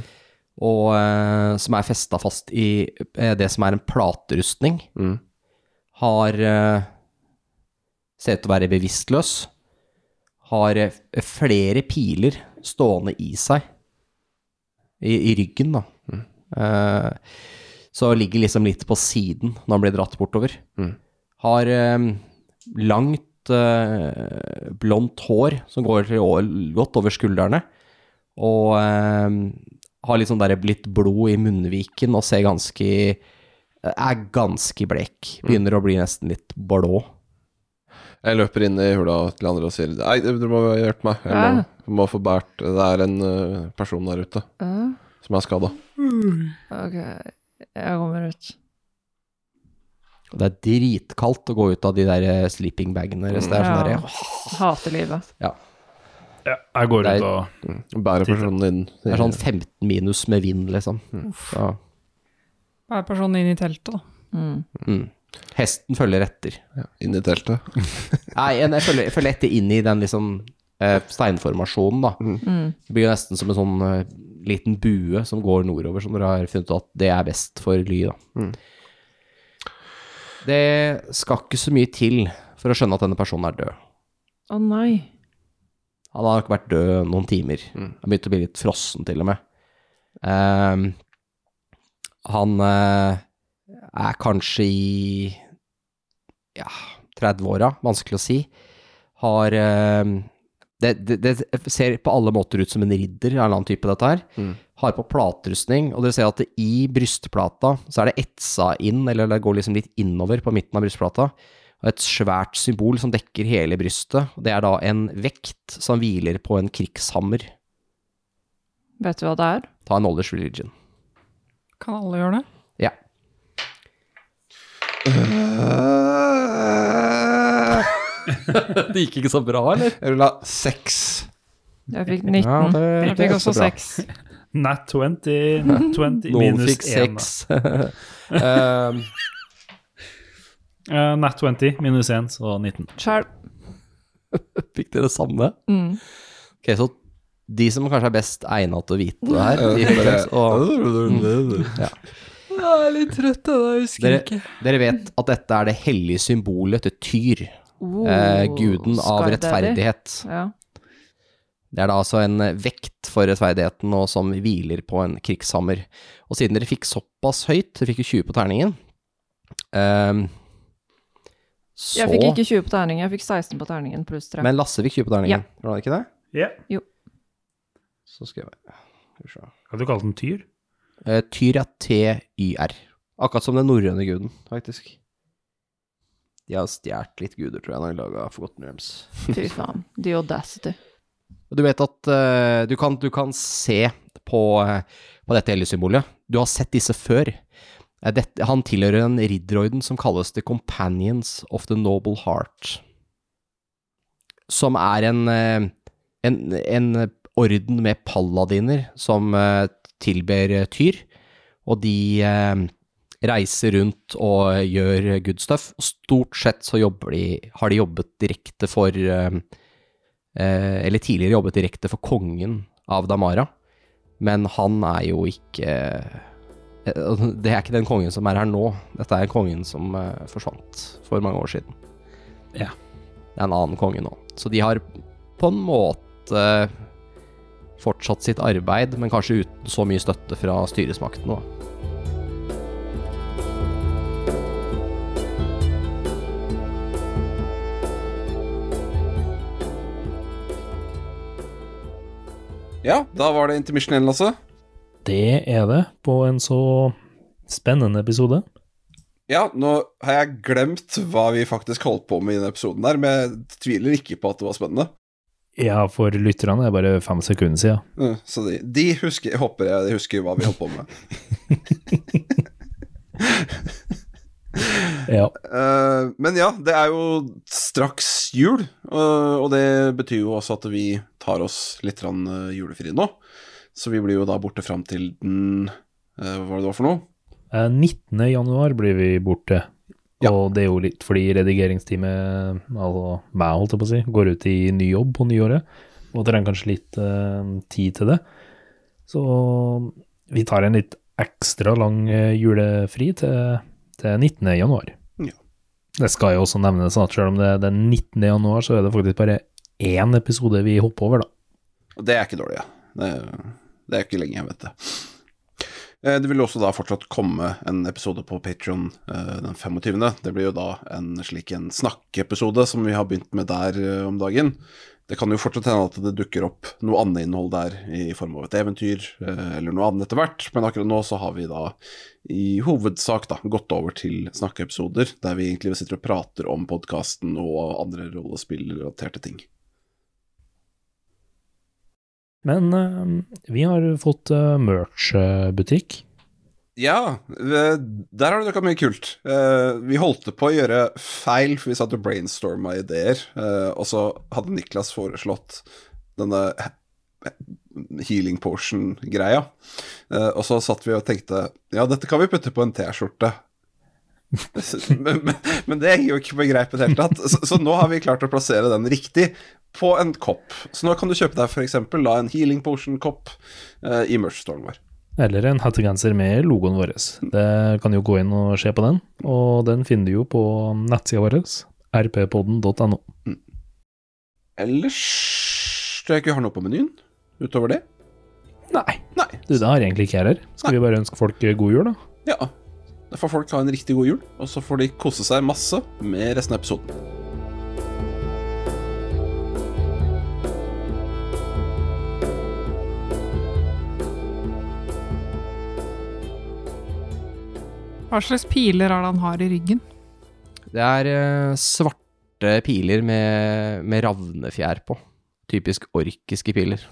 S3: og, eh, som er festa fast i eh, det som er en platerustning.
S5: Mm.
S3: Har eh, Ser ut til å være bevisstløs. Har eh, f- flere piler stående i seg. I, i ryggen, da.
S5: Mm.
S3: Eh, så ligger liksom litt på siden når han blir dratt bortover.
S5: Mm.
S3: Har eh, langt eh, blondt hår som går til å- godt over skuldrene. Og eh, har litt sånn der litt blod i munnviken og ser ganske Er ganske blek. Begynner å bli nesten litt blå.
S5: Jeg løper inn i hula til andre og sier Nei, du må hjelpe meg. Jeg må, må få båret Det er en eh, person der ute
S2: Ja,
S5: som er skada.
S2: ok, jeg kommer ut.
S3: Og det er dritkaldt å gå ut av de der eh, sleeping bagene deres. Det er sånn der, åh,
S2: Hater livet.
S6: Ja, jeg går
S3: Det er-
S6: ut og
S5: Mm. Bærer personen inn. Mm.
S3: det er sånn 15 minus med vind, liksom. Så,
S7: Hver person inn i teltet, da.
S2: Mm.
S3: mm. Hesten følger etter.
S5: inn i teltet.
S3: Nei, jeg, jeg, følger, jeg følger etter inn i den liksom eh, steinformasjonen, da.
S2: Mm.
S3: Det blir jo nesten som en sånn eh, liten bue som går nordover, som dere har funnet ut at det er best for ly, da.
S5: Mm.
S3: Det skal ikke så mye til for å skjønne at denne personen er død.
S2: Å nei.
S3: Han har nok vært død noen timer.
S5: Mm.
S3: Han begynte å bli litt frossen, til og med. Ehm, han eh, er kanskje i ja, 30-åra, vanskelig å si. Har ehm, det, det, det ser på alle måter ut som en ridder, en eller annen type, dette her.
S5: Mm.
S3: Har på platerustning, og dere ser at det, i brystplata så er det etsa inn, eller det går liksom litt innover på midten av brystplata, og et svært symbol som dekker hele brystet. og Det er da en vekt som hviler på en krigshammer.
S2: Vet du hva det er?
S3: Ta en knowledge religion.
S7: Kan alle gjøre det?
S3: Ja. det gikk ikke så bra, eller?
S5: Jeg vil ha seks.
S2: Jeg fikk 19.
S7: Jeg fikk også seks.
S6: Nat 20, nat 20
S3: Noen
S6: minus
S3: fikk
S6: 1.
S3: seks. um,
S6: nat 20 minus 1, så 19.
S2: Skjær.
S3: fikk dere samme?
S2: Mm.
S3: Ok, så de som kanskje er best egnet til å vite det her, de fikk
S5: Bare-
S3: seks. Og
S5: Mm.
S2: Jeg er litt trøtt av det, jeg husker
S3: dere, dere vet at dette er det hellige symbolet til Tyr, eh,
S7: Oh,
S3: guden av rettferdighet.
S2: Ja.
S3: Det er da altså en vekt for rettferdigheten, og som hviler på en krigshammer. Og siden dere fikk såpass høyt, dere fikk jo 20 på terningen ehm, Så
S2: Jeg fikk ikke 20 på terningen, jeg fikk 16 på terningen pluss 3.
S3: Men Lasse fikk 20 på terningen,
S2: Ja.
S3: var det ikke det?
S6: Ja.
S3: Så skal jeg Skal vi se.
S6: Kan du kalle den tyr?
S3: Eh, Tyr er T-Y-R. Akkurat som den norrøne guden, faktisk. De har stjålet litt guder, tror jeg, når de laga Forgotten Realms.
S2: Fy faen. The audacity.
S3: Og Du vet at eh, du, kan, du kan se på, eh, på dette hellesymbolet. Du har sett disse før. Eh, dette, han tilhører en ridderorden som kalles The Companions of the Noble Heart. som er en, eh, en, en orden med paladiner som eh, tilber eh, tyr, og de eh, reiser rundt og gjør good stuff. Og stort sett så jobber de, har de jobbet direkte for eh, eh, Eller tidligere jobbet direkte for kongen av Damara, men han er jo ikke eh, Det er ikke den kongen som er her nå. Dette er kongen som eh, forsvant for mange år siden.
S8: Ja.
S3: Det er en annen konge nå. Så de har på en måte fortsatt sitt arbeid, men kanskje uten så mye støtte fra styresmaktene, da.
S5: Ja, da var det intermission igjen, altså. Lasse.
S6: Det er det på en så spennende episode.
S5: Ja, nå har jeg glemt hva vi faktisk holdt på med i den episoden der, men jeg tviler ikke på at det var spennende.
S6: Ja, for lytterne er det bare fem sekunder siden.
S5: Mm, Så de, de husker, jeg håper jeg de husker hva vi holdt på med.
S6: Ja.
S5: Eh, men ja, det er jo straks jul, eh, og det betyr jo også at vi tar oss litt grann, eh, julefri nå. Så vi blir jo da borte fram til den eh, Hva var det det var for noe?
S6: Eh, 19. januar blir vi borte.
S5: Ja.
S6: Og det er jo litt fordi redigeringsteamet, altså meg, holdt jeg på å si, går ut i ny jobb på nyåret. Og trenger kanskje litt eh, tid til det. Så vi tar en litt ekstra lang eh, julefri til, til 19. januar.
S5: Ja.
S6: Det skal jo også nevnes at selv om det er den 19. januar, så er det faktisk bare én episode vi hopper over, da.
S5: Og det er ikke dårlig, ja. Det, det er ikke lenge jeg vet det. Eh, Det vil også da fortsatt komme en episode på Patron den 25. Det blir jo da en slik en snakkeepisode som vi har begynt med der eh, om dagen. Det kan jo fortsatt hende at det dukker opp noe annet innhold der i form av et eventyr eh, eller noe annet etter hvert, men akkurat nå så har vi da i hovedsak da gått over til snakkeepisoder der vi egentlig sitter og prater om podkasten og andre rollespillrelaterte ting.
S6: Men eh, vi har fått eh, merch-butikk.
S5: Ja, eh, der har det dukka mye kult. Eh, Vi holdt på å gjøre feil, for vi satt og brainstorma ideer. eh, Og så hadde Niklas foreslått denne he- healing potion-greia. Eh, Og så satt vi og tenkte ja, dette kan vi putte på en T-skjorte. men, men, men det gir jo ikke på greip i det hele tatt. Så, så nå har vi klart å plassere den riktig på en kopp. Så nå kan du kjøpe deg f.eks. en healing potion-kopp eh, i merch-stolen vår.
S6: Eller en hettegenser med logoen vår. Det kan jo gå inn og se på den, og den finner du jo på nettsida vår, rppodden.no.
S5: Ellers tror jeg ikke vi har noe på menyen utover det.
S6: Nei,
S5: Nei.
S6: du, det har egentlig ikke jeg heller. Skal vi bare ønske folk god jul, da?
S5: Ja. Da får folk ha en riktig god jul, og så får de kose seg masse med resten av episoden.
S7: Hva slags piler er det han har i ryggen?
S3: Det er eh, svarte piler med, med ravnefjær på. Typisk orkiske piler.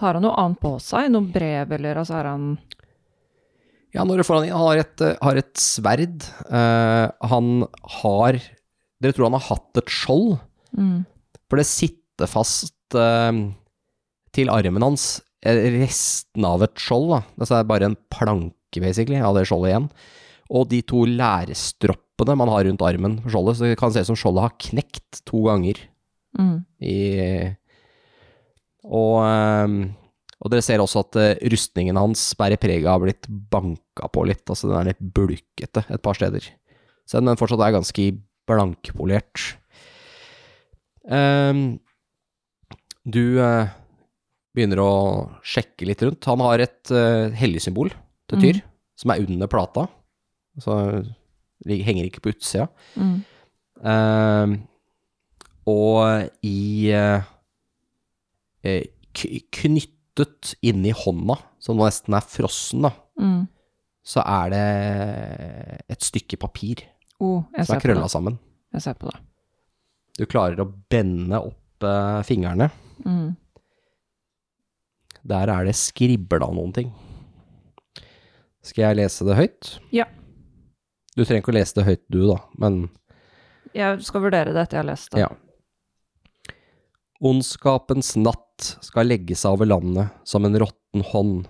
S2: Har han noe annet på seg? Noe brev, eller altså er han
S3: Ja, når du får han inn, han har et, eh, har et sverd. Eh, han har Dere tror han har hatt et skjold,
S2: mm.
S3: for det sitter fast eh, til armen hans eh, resten av et skjold. Da. Altså, det er bare en planke, basically, av det skjoldet igjen. Og de to lærestroppene man har rundt armen på skjoldet, så det kan se ut som skjoldet har knekt to ganger.
S2: Mm.
S3: i Og, ehm, og dere ser også at eh, rustningen hans bærer preg av å ha blitt banka på litt. Altså den er litt bulkete et par steder. Selv om den fortsatt er ganske blankpolert. Ehm, du eh, begynner å sjekke litt rundt. Han har et uh, helligsymbol til Tyr, som er under plata. Så eh, det henger ikke på utsida.
S2: Mm.
S3: Eh, og i eh, eh, k- Knyttet inni hånda, som nå nesten er frossen, da,
S2: Mm.
S3: så er det et stykke papir
S2: Oh, jeg
S3: som
S2: ser
S3: er
S2: på
S3: krølla
S2: det.
S3: sammen.
S2: Jeg ser på det.
S3: Du klarer å bende opp eh, fingrene.
S2: Mm.
S3: Der er det skribla noen ting. Skal jeg lese det høyt?
S2: Ja.
S3: Du trenger ikke å lese det høyt, du, da, men
S2: Jeg skal vurdere det etter jeg har lest det.
S3: Ja. Ondskapens natt skal legge seg over landet som en råtten hånd.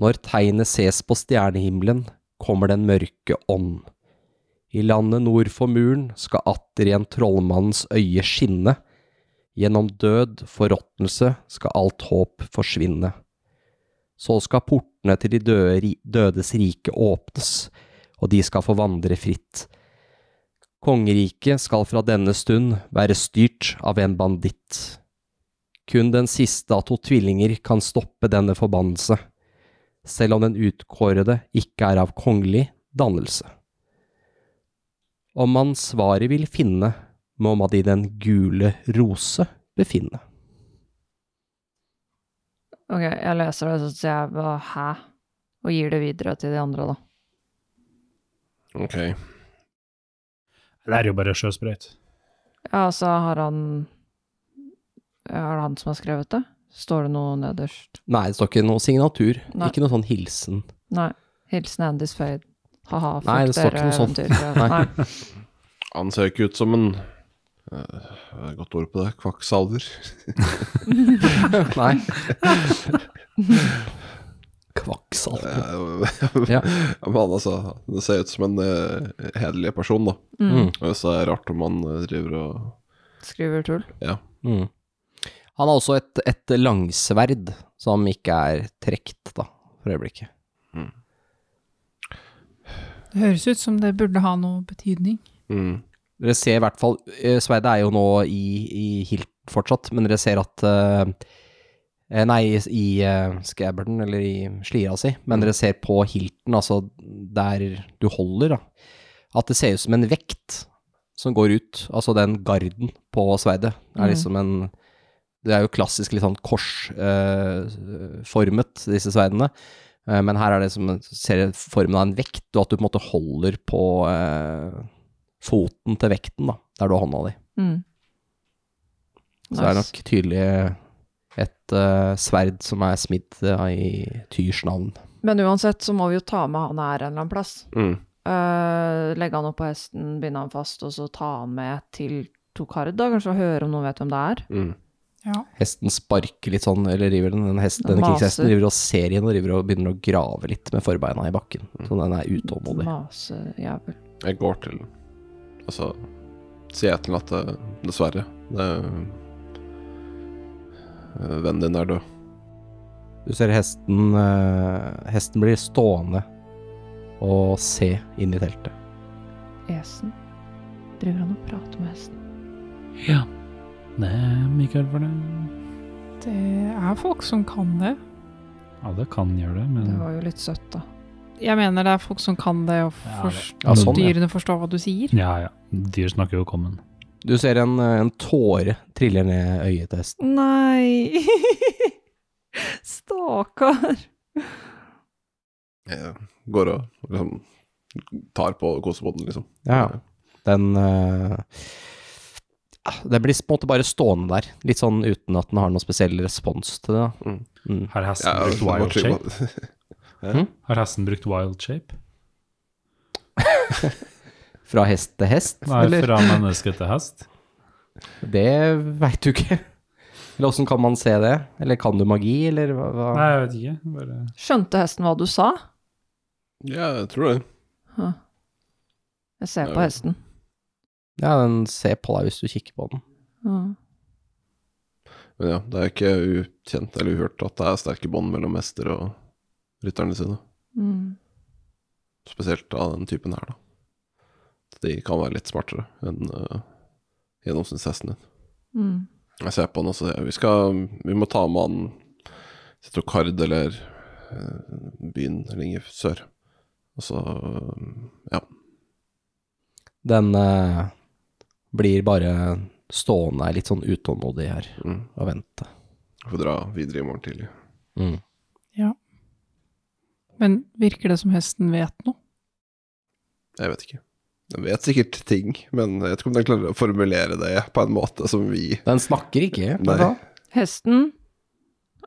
S3: Når tegnet ses på stjernehimmelen, kommer den mørke ånd. I landet nord for muren skal atter igjen trollmannens øye skinne. Gjennom død, forråtnelse, skal alt håp forsvinne. Så skal portene til de døde, ri- dødes rike åpnes, og de skal få vandre fritt. Kongeriket skal fra denne stund være styrt av en banditt. Kun den siste av to tvillinger kan stoppe denne forbannelse, selv om den utkårede ikke er av kongelig dannelse. Om man svaret vil finne, må man i den gule rose befinne.
S2: Ok, jeg leser det, så sier jeg bare hæ? Og gir det videre til de andre, da.
S5: Ok.
S6: Det er jo bare sjøsprøyt.
S2: Ja, altså, har han Er det han som har skrevet det? Står det noe nederst?
S3: Nei, det står ikke noe signatur,
S2: Nei.
S3: ikke noe sånn hilsen.
S2: Nei. Hilsen Andys Fade. Ha-ha, fuck
S3: Nei, det står
S2: dere
S3: ikke noe sånt.
S2: eventyrere.
S3: Nei.
S2: Nei.
S5: Han ser ikke ut som en eh, Godt ord på det. Kvakksalver.
S3: Nei. Kvakksalve. Ja.
S5: Men han altså Det ser ut som en eh, hederlig person, da.
S2: Mm.
S5: Og Så er det rart om han eh, driver og
S2: Skriver tull.
S3: Mm. Han har også et, et langsverd som ikke er trekt, da, for øyeblikket.
S7: Det høres ut som det burde ha noe betydning.
S5: mm.
S3: Dere ser i hvert fall eh, Sverdet er jo nå i, i hilt fortsatt, men dere ser at eh, eh, Nei, i uh, skabberden, eller i slira si, men dere ser på hilten, altså der du holder, da, at det ser ut som en vekt som går ut. Altså den garden på sverdet er
S2: Mhm.
S3: liksom en Det er jo klassisk litt sånn korsformet, disse sverdene. eh, Men her er det som ser formen av en vekt, og at du på en måte holder på eh, foten til vekten, da, der du har hånda di.
S2: Mm.
S3: Så det er nok tydelig et eh, sverd som er smidd eh, i Tyrs navn.
S2: Men uansett så må vi jo ta med han her en eller annen plass.
S5: Mm.
S2: Eh, legge han opp på hesten, binde han fast, og så ta han med til Tokard, da, kanskje, og høre om noen vet hvem det er.
S5: Mm.
S7: Ja.
S3: Hesten sparker lilt sånn, eller river den. den hesten,
S2: Den
S3: denne
S2: maser.
S3: krigshesten driver og ser inn og driver og begynner å grave litt med forbeina i bakken. Så den er utålmodig.
S2: Masejævel.
S5: Jeg går til Altså sier jeg til ham at eh, dessverre det, eh, Vennen din er død.
S3: Du ser hesten eh, Hesten blir stående og se inn i teltet.
S2: Esen. Driver han og prater med hesten?
S6: Ja. Det er Mikael for det.
S7: Det er folk som kan det.
S6: Alle kan gjøre det, men
S5: Mm.
S2: Det var jo litt søtt, da.
S7: Jeg mener det er folk som kan det, og
S6: Ja,
S7: forst-
S3: Ja, sånn, ja.
S7: dyrene forstår hva du sier.
S6: Ja, ja. Dyr snakker jo kommen.
S3: Du ser en, eh, en tåre triller ned øyet til hesten.
S2: Nei Stakkar.
S5: Jeg går og liksom, tar på kosebåten, liksom.
S3: Ja, ja. Den eh, ja, Den blir på en måte bare stående der, litt sånn uten at den har noen spesiell respons til det. da.
S5: Mm.
S3: Mm.
S6: Har hesten
S5: Ja,
S6: brukt wild
S5: det var-
S6: shape? Har hesten brukt wild shape?
S3: Fra hest til hest,
S6: Nei,
S3: eller?
S6: fra menneske til hest?
S3: Det veit du ikke. Eller åssen kan man se det? Eller kan du magi, eller hva? hva?
S6: Nei, jeg vet ikke. Bare
S2: Skjønte hesten hva du sa?
S5: ja, jeg tror det.
S2: Huh. Jeg ser på
S5: Ja.
S2: hesten.
S3: Ja, den ser på deg hvis du kikker på den.
S2: Ja.
S5: Men ja, det er ikke ukjent eller uhørt at det er sterke bånd mellom mester og rytterne sine.
S2: Mm.
S5: Spesielt av den typen her, da. Så De kan være litt smartere enn uh, gjennomsnittshesten din.
S2: Mm.
S5: Jeg ser på han og sier vi skal Vi må ta med han til Tokard eller eh, byen lenger sør. Og så eh, Ja.
S3: Den eh, blir bare stående litt sånn utålmodig her
S5: Mm.
S3: og vente.
S5: Får dra videre i morgen tidlig.
S3: Mm.
S7: Men virker det som hesten vet noe?
S5: Jeg vet ikke. Den vet sikkert ting, men jeg vet ikke om den klarer å formulere det på en måte som vi
S3: Den snakker ikke.
S5: Nei.
S3: hva da?
S2: Hesten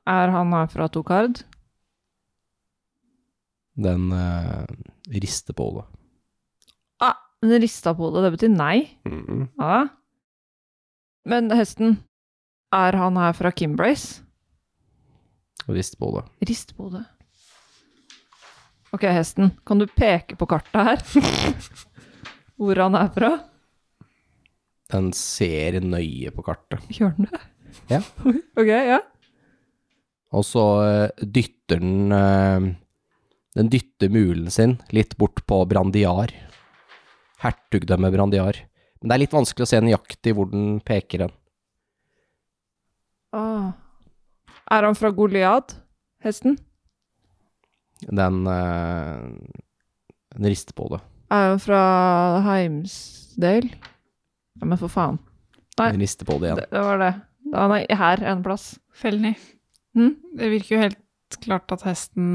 S2: er han her fra Tokard.
S3: Den eh, rister på hodet.
S2: Ah, Den rista på hodet. Det betyr nei.
S4: Mhm.
S2: Ja. Men hesten, er han her fra Kimbrace?
S3: Rist på hodet.
S2: Rist på hodet. Ok, hesten, kan du peke på kartet her? Hvor han er fra?
S3: Den ser nøye på kartet.
S2: Gjør den det?
S3: Ja.
S2: ok, ja.
S3: Og så eh, dytter den eh, Den dytter mulen sin litt bort på Brandiar. Hertugdømmet Brandiar. Men det er litt vanskelig å se nøyaktig hvor den peker hen.
S2: Ah. Er han fra Goliad, hesten?
S3: Den, eh, den rister på det.
S2: Er han fra Heimsdale? Ja, men for faen. Nei.
S3: Den rister på det igjen.
S2: Det, det var det. Han er her en plass.
S7: Felny.
S2: Hm?
S7: Det virker jo helt klart at hesten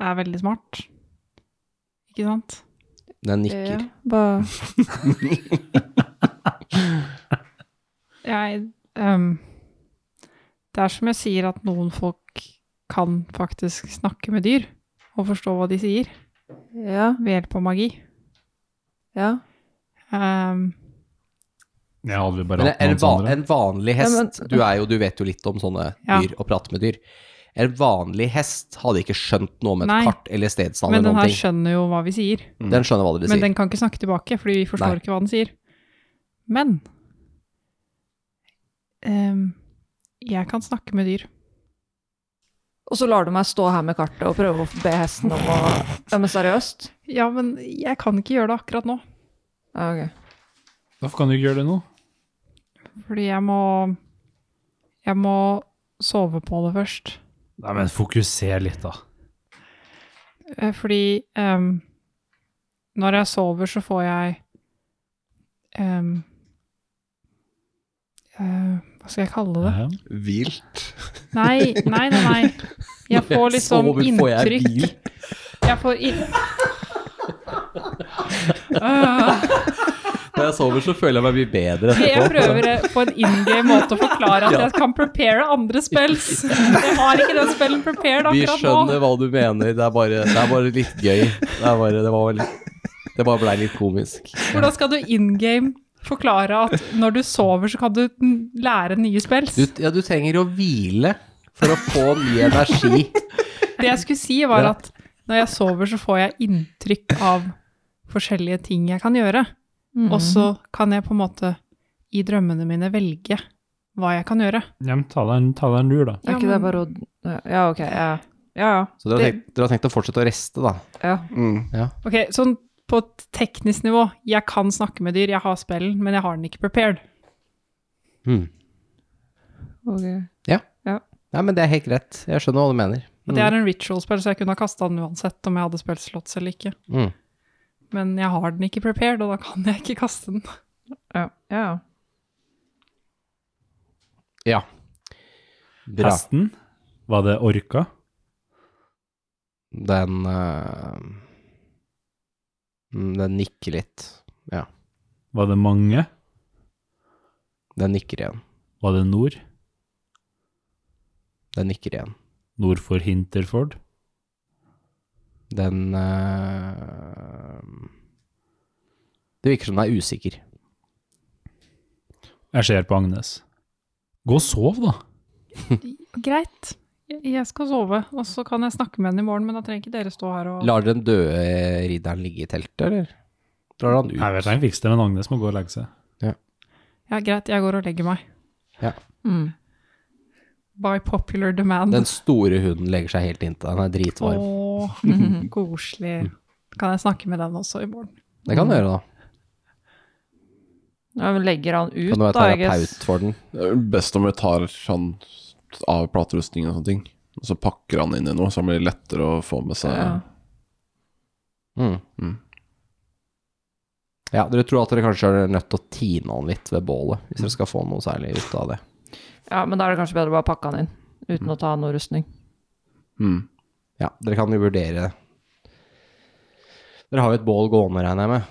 S7: er veldig smart. Ikke sant?
S3: Den nikker.
S2: Ja, bare...
S7: Jeg ehm, Det er som jeg sier, at noen folk kan faktisk snakke med dyr og forstå hva de sier,
S2: ja,
S7: ved hjelp av magi.
S2: ja.
S7: Ehm,
S6: Jeg hadde vel bare
S3: Men
S6: hatt
S3: en,
S6: noen
S3: va
S6: andre.
S3: en vanlig hest
S2: Ja, men-
S3: du, er jo, du vet jo litt om sånne
S7: Ja.
S3: dyr og prater med dyr. En vanlig hest hadde ikke skjønt noe om et
S7: Nei.
S3: kart eller stedsnavn
S7: men
S3: eller
S7: den her
S3: noen ting.
S7: skjønner jo hva vi sier.
S3: Den skjønner hva dere
S7: Men
S3: sier.
S7: den kan ikke snakke tilbake, fordi vi forstår
S3: Nei.
S7: ikke hva den sier. Men ehm, jeg kan snakke med dyr.
S2: Og så lar du meg stå her med kartet og prøve å be hesten om å Ja, men seriøst?
S7: Ja, men jeg kan ikke gjøre det akkurat nå.
S2: Ja, ok.
S6: Hvorfor kan du ikke gjøre det nå?
S7: Fordi jeg må Jeg må sove på det først.
S6: Nei, men fokuser litt, da.
S7: Eh, Fordi ehm, når jeg sover, så får jeg ehm, eh, Hva skal jeg kalle det?
S6: Ja.
S5: Hvilt.
S7: Nei, nei, nei. nei. Jeg får liksom inntrykk
S3: bil.
S7: Jeg får inn... Øh,
S3: Når jeg sover, så føler jeg meg mye bedre
S7: jeg prøver eh, på en in-game måte å forklare at jeg kan prepare andre spills. Jeg har ikke den spillen prepared
S3: Vi
S7: akkurat nå.
S3: skjønner hva du mener. Det er bare, det er bare litt gøy. Det, er bare, det, var litt, det bare blei litt komisk.
S7: Hvordan skal du in-game forklare at når du sover, så kan du n- lære nye spills?
S3: Du, ja, du trenger å hvile for å få ny energi.
S7: Det jeg skulle si, var
S3: Ja.
S7: at når jeg sover, så får jeg inntrykk av forskjellige ting jeg kan gjøre. Og så kan jeg på en måte i drømmene mine velge hva jeg kan gjøre.
S6: Ja, men ta deg en, ta deg en lur, da.
S2: Er ikke det bare å Ja, ok. Ja, ja. ja.
S3: Så dere har, tenkt, dere har tenkt å fortsette å reste, da.
S2: ja.
S5: Mm.
S7: Ok, sånn på et teknisk nivå. Jeg kan snakke med dyr, jeg har spillen, men jeg har den ikke prepared.
S2: Ok.
S3: Nei, men det er helt greit. Jeg skjønner hva du mener.
S7: Og det er en ritual-spill, så jeg kunne ha kasta den uansett om jeg hadde spilt slots eller ikke.
S3: Mm.
S7: Men jeg har den ikke prepared, og da kan jeg ikke kaste den.
S2: Ja. ja.
S3: Ja. Bra.
S6: Hesten, var det orka?
S3: Den eh, mm, Den nikker litt. Ja.
S6: Var det mange?
S3: Den nikker igjen.
S6: Var det nord?
S3: Den nikker igjen.
S6: Nord for Hinterford?
S3: Den eh, Det virker som den er usikker.
S6: Jeg ser på Agnes. Gå og sov, da.
S7: Greit, jeg- jeg skal sove, og så kan jeg snakke med henne i morgen, men da trenger ikke dere stå her og
S3: Lar den døde eh, ridderen ligge i teltet, eller? Drar han ut?
S6: Jeg vet jeg fikser det, men Agnes må gå og legge seg.
S7: Ja, greit, jeg går og legger meg.
S2: Mm.
S7: By popular demand.
S3: Den store hunden legger seg helt inntil deg, den er dritvarm.
S7: Åh,
S3: Mm.
S7: koselig. Kan jeg snakke med den også i morgen?
S3: Det kan du gjøre, da.
S2: Ja, men legger han ut,
S3: Kan du være
S2: da, jeg guess?
S3: terapeut for den?
S4: Det er vel best om jeg tar
S5: sånn
S4: han av platerustningen og sånne ting. Og så pakker han inn i noe, så han blir lettere å få med seg.
S2: Ja.
S3: Mm.
S4: Mm.
S3: Ja, dere tror at dere kanskje er nødt til å tine han litt ved bålet, hvis dere skal få noe særlig ut av det.
S2: Ja, men da er det kanskje bedre å bare pakke han inn, uten å ta noe rustning.
S4: Mm.
S3: Ja, dere kan jo vurdere Dere har jo et bål gående, regner jeg med.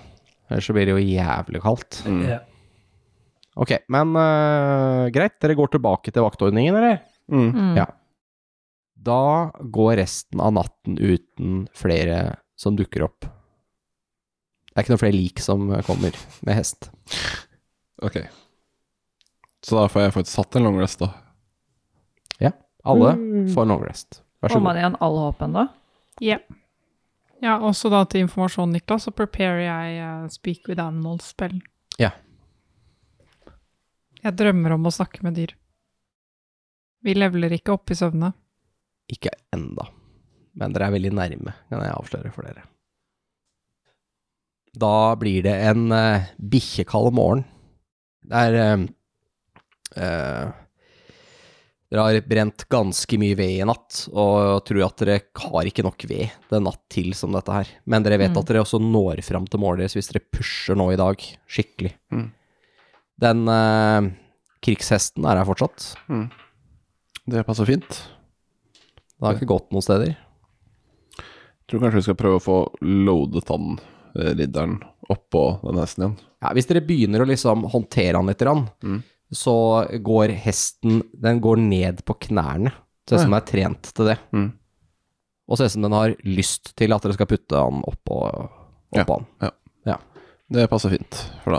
S3: Ellers så blir det jo jævlig kaldt.
S4: Mm.
S9: Ja.
S3: Ok, men øh, greit. Dere går tilbake til vaktordningen, eller?
S4: Mm.
S2: Mm.
S3: Ja. Da går resten av natten uten flere som dukker opp. Det er ikke noen flere lik som kommer med hest.
S4: Ok. Så da får jeg faktisk satt en long rest, da.
S3: Alle
S2: Mm.
S3: får en long rest. Vær så
S2: Får man
S3: god.
S2: igjen all håp ennå?
S7: Ja, også da til informasjon, Niklas, så preparer jeg eh, Speak with Animals-spill.
S3: Ja.
S7: Jeg drømmer om å snakke med dyr. Vi leveler ikke opp i søvne.
S3: Ikke enda. Men dere er veldig nærme, kan jeg avsløre for dere. Da blir det en uh, bikkjekald morgen. Det er eh, eh, Dere har brent ganske mye ved i natt, og tror at dere har ikke nok ved den natt til som dette her. Men dere vet
S2: Mm.
S3: at dere også når fram til målet deres hvis dere pusher nå i dag, skikkelig.
S4: Mm.
S3: Den eh, krigshesten er her fortsatt.
S4: Det passer fint.
S3: Den har ikke gått noen steder.
S4: Tror kanskje vi skal prøve å få loadet han eh, ridderen oppå den hesten igjen.
S3: Ja, hvis dere begynner å liksom håndtere han litt, grann,
S4: Mm.
S3: så går hesten Den går ned på knærne. Ser ut som den er trent til det.
S4: Mm.
S3: Og ser ut som den har lyst til at dere skal putte han oppå
S4: Ja.
S3: opp han.
S4: Det passer fint, for da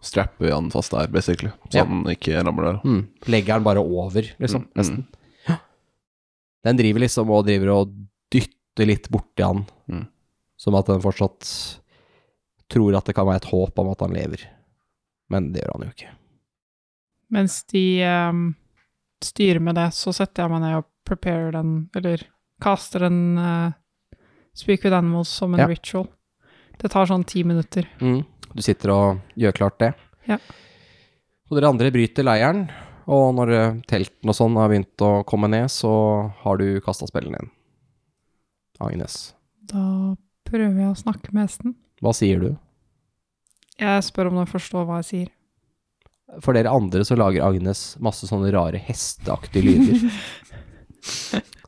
S4: strapper vi han fast der, basically. Så
S3: Ja.
S4: han ikke ramler der.
S3: Mm. Legger han bare over, liksom.
S4: Mm,
S3: Nesten. Ja. Den driver liksom og driver og dytter litt borti han,
S4: Mm.
S3: som at den fortsatt tror at det kan være et håp om at han lever. Men det gjør han jo ikke.
S7: Mens de ehm, styrer med det, så setter jeg meg ned og preparer den, eller kaster en eh, Speak with Animals som en
S3: Ja.
S7: ritual. Det tar sånn ti minutter.
S3: Mm. Du sitter og gjør klart det.
S7: Ja.
S3: Så dere andre bryter leiren, og når eh, teltene og sånn har begynt å komme ned, så har du kasta spillene din. Agnes,
S7: Da prøver jeg å snakke med hesten.
S3: hva sier du?
S7: Jeg spør om den forstår hva jeg sier.
S3: For dere andre så lager Agnes masse sånne rare hesteaktige lyder.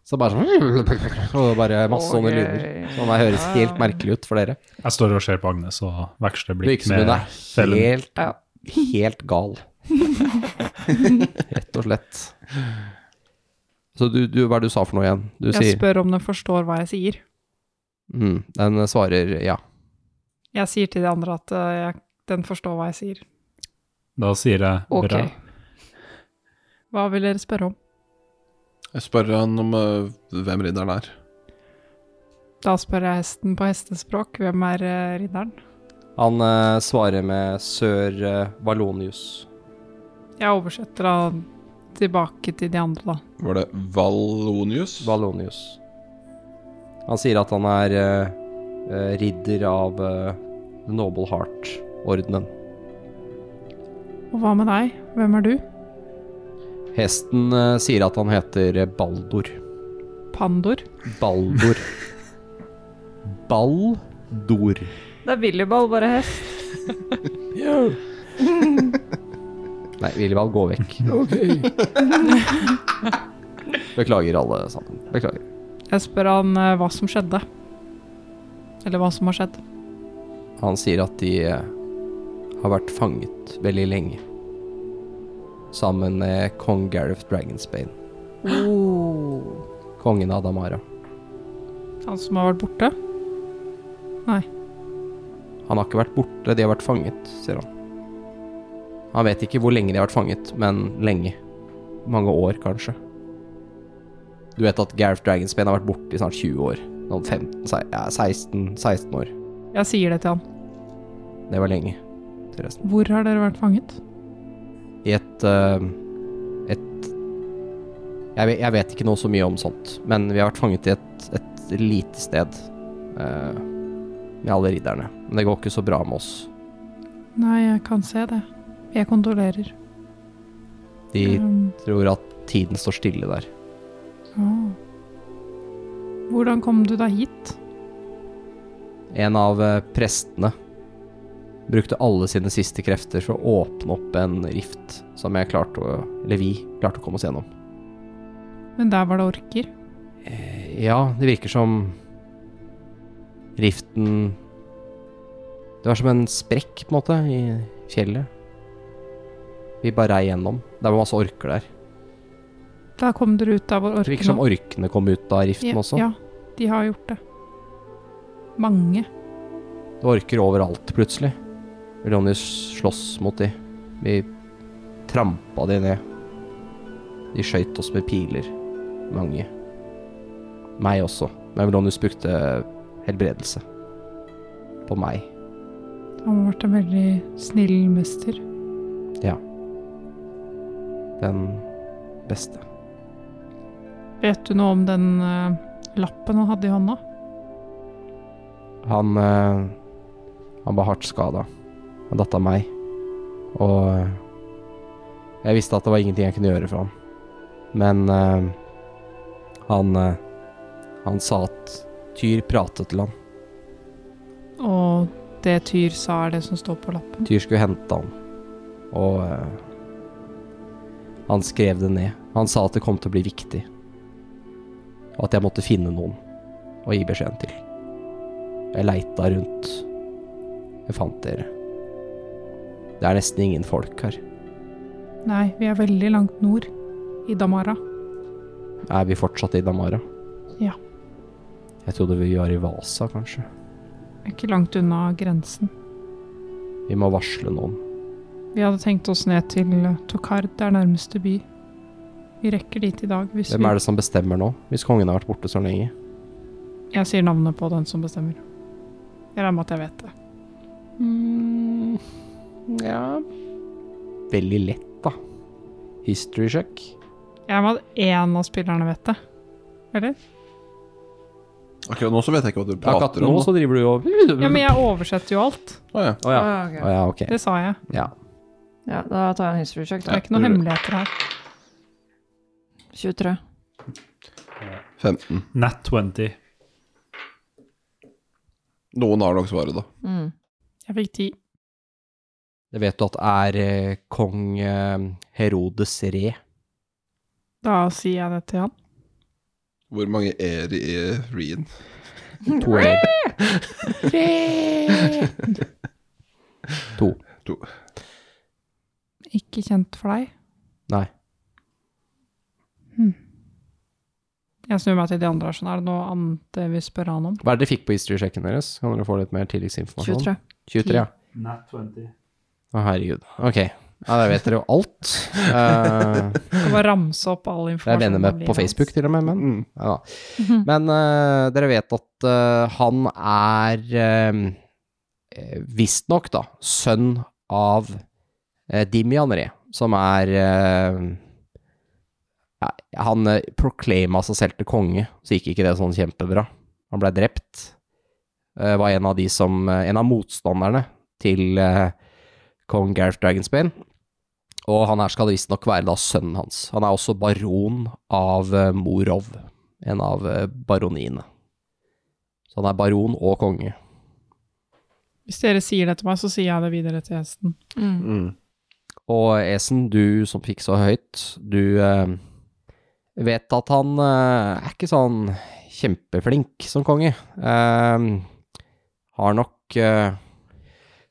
S3: så bare sånn Og bare masse sånne lyder. Som er- høres helt merkelig ut for dere.
S6: Jeg står og ser på Agnes og veksler
S3: Det
S6: blikk
S3: virker som
S6: med
S3: hun er
S6: fellen.
S3: helt,
S2: Ja.
S3: helt gal. Rett og slett. Så du, du, hva er det du sa for noe igjen? Du
S7: Jeg
S3: sier
S7: spør om den forstår hva jeg sier.
S3: mm, Den svarer ja.
S7: Jeg sier til de andre at eh, jeg, den forstår hva jeg sier.
S6: Da sier jeg
S2: Ok.
S6: bra.
S7: Hva vil dere spørre om?
S4: Jeg spør han om eh, hvem ridderen er.
S7: Da spør jeg hesten på hestespråk. Hvem er eh, ridderen?
S3: Han eh, svarer med sør eh, Valonius.
S7: Jeg oversetter da tilbake til de andre, da.
S4: Var det Valonius?
S3: Valonius. Han sier at han er eh, eh, ridder av eh, The Noble Heart-ordenen.
S7: Og hva med deg? Hvem er du?
S3: Hesten eh, sier at han heter Baldur.
S7: Pandor?
S3: Baldur. Baldur.
S2: Det er Willyball, bare hest.
S3: Nei, Willibald, gå vekk. Beklager, alle sammen. Beklager.
S7: Jeg spør han eh, hva som skjedde. Eller hva som har skjedd.
S3: Han sier at de eh, har vært fanget veldig lenge. Sammen med kong Gareth Dragonsbane. Kongen av Damara.
S7: Han som har vært borte?
S3: Han har ikke vært borte, de har vært fanget, sier han. Han vet ikke hvor lenge de har vært fanget, men lenge. Mange år, kanskje. Du vet at Gareth Dragonsbane har vært borte i snart 20 år. Noen 15, se- ja, 16, 16 år.
S7: Jeg sier det til han.
S3: Det var lenge, sier resten.
S7: Hvor har dere vært fanget?
S3: i et eh, et jeg vet, jeg vet ikke noe så mye om sånt, men vi har vært fanget i et, et lite sted eh, med alle ridderne. Men det går ikke så bra med oss.
S7: Nei, jeg kan se det. Jeg kondolerer.
S3: De
S7: Um,
S3: tror at tiden står stille der.
S7: ah. Hvordan kom du deg hit?
S3: En av eh, prestene brukte alle sine siste krefter for å åpne opp en rift som jeg klarte å, eller vi klarte å komme oss gjennom.
S7: Men der var det orker.
S3: Eh, Ja, det virker som riften Det var som en sprekk, på en måte, i fjellet. Vi bare rei gjennom. Det var masse orker der.
S7: Da kom dere ut der hvor
S3: Det
S7: orkene
S3: virker som orkene kom ut av riften
S7: ja,
S3: også.
S7: Ja, de har gjort det. Mange.
S3: Det orker overalt plutselig. Ronny slåss mot de. Vi trampa de ned. De skøyt oss med piler. Mange. Meg også. Men Ronny brukte helbredelse. På meg.
S7: Han har vært en veldig snill mester.
S3: Den beste.
S7: Vet du noe om den eh, lappen han hadde i hånda?
S3: Han eh, Han var hardt skada. Han datt av meg. Og eh, jeg visste at det var ingenting jeg kunne gjøre for ham. Men eh, han eh, Han sa at Tyr pratet til ham.
S7: Og det Tyr sa er det som står på lappen.
S3: Tyr skulle hente ham. Og eh, han skrev det ned. Han sa at det kom til å bli viktig. Og at jeg måtte finne noen å gi beskjeden til. Jeg leita rundt. Jeg fant dere. Det er nesten ingen folk her.
S7: Nei, vi er veldig langt nord. I Damara.
S3: Er vi fortsatt i Damara?
S7: Ja.
S3: Jeg trodde vi var i Vasa, kanskje.
S7: Ikke langt unna grensen.
S3: Vi må varsle noen.
S7: Vi hadde tenkt oss ned til Tokard, det er nærmeste by. Vi rekker dit i dag hvis
S3: Hvem er det som bestemmer nå, hvis kongen har vært borte så lenge?
S7: vi Jeg sier navnet på den som bestemmer. Jeg regner med at jeg vet det.
S3: Mm, ja Veldig lett, da. History check.
S7: Jeg regner med at én av spillerne vet det. Eller?
S4: Akkurat nå så vet jeg ikke hva du
S3: Akkurat
S4: prater
S3: nå
S4: om.
S3: så driver du og
S7: Ja, men jeg oversetter jo alt.
S4: Å ja.
S3: Å ja.
S2: Ah, ok.
S3: Å ja, ok.
S7: Det sa jeg.
S2: Ja, da tar jeg en history check,
S7: Det
S2: da.
S7: er ikke noen hemmeligheter her.
S2: 23.
S4: 15.
S6: Nat 20.
S4: Noen har nok svaret, da.
S2: Mm.
S7: Jeg fikk ti.
S3: Det vet du at er eh, kong eh, Herodes re.
S7: Da sier jeg det til han.
S4: Hvor mange er i Reen?
S3: To ganger. To.
S7: Ikke kjent for deg.
S3: Nei.
S7: Jeg snur meg til de andre. her, Sånn, er det noe annet eh, vi spør han om?
S3: Hva er det dere fikk på history-sjekken deres? Kan dere få litt mer tilleggsinformasjon?
S2: 23.
S3: 23, ja.
S6: Nat 20.
S3: Å, herregud. Ok. Ja, da vet dere jo alt. Eh,
S7: Skal bare ramse opp all
S3: Det er
S7: informasjon.
S3: venner med
S7: om Mhm.
S3: på
S7: livet
S3: Facebook, til og med. Men,
S4: Mm.
S3: ja. da. men eh, dere vet at eh, han er um, visstnok, da, sønn av uh, Dimian Re, som er eh, ja, Han uh, proclaima seg selv til konge, så gikk ikke det sånn kjempebra. Han ble drept. Eh, var en av de som eh, En av motstanderne til eh, kong Gareth Dragonsbane. Og han her skal visstnok være da sønnen hans. Han er også baron av eh, Morov, en av eh, baroniene. Så han er baron og konge.
S7: hans. Hvis dere sier det til meg, så sier jeg det videre til gjesten.
S2: Mm.
S3: Og Esen, du som fikk så høyt, du eh, vet at han eh, er ikke sånn kjempeflink som konge. Eh, har nok eh,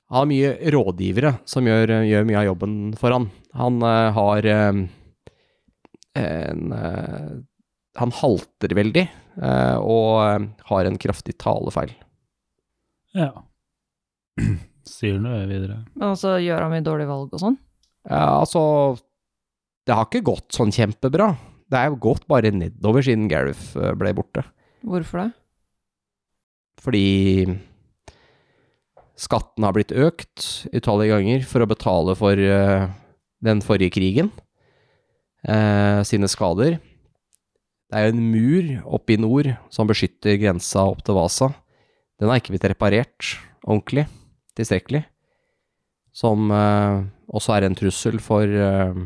S3: Han har mye rådgivere som gjør, gjør mye av jobben for han. Han eh, har eh, en eh, Han halter veldig, eh, og eh, har en kraftig talefeil.
S6: Ja. Sier noe videre.
S2: Men altså, gjør han mye dårlige valg og sånn?
S3: Ja, altså Det har ikke gått sånn kjempebra. Det er jo gått bare nedover siden Gareth eh, ble borte.
S2: Hvorfor det?
S3: Fordi skatten har blitt økt utallige ganger for å betale for eh, den forrige krigen eh, sine skader. Det er jo en mur oppe i nord som beskytter grensa opp til Vasa. Den har ikke blitt reparert ordentlig, tilstrekkelig. Som eh, også er en trussel for eh,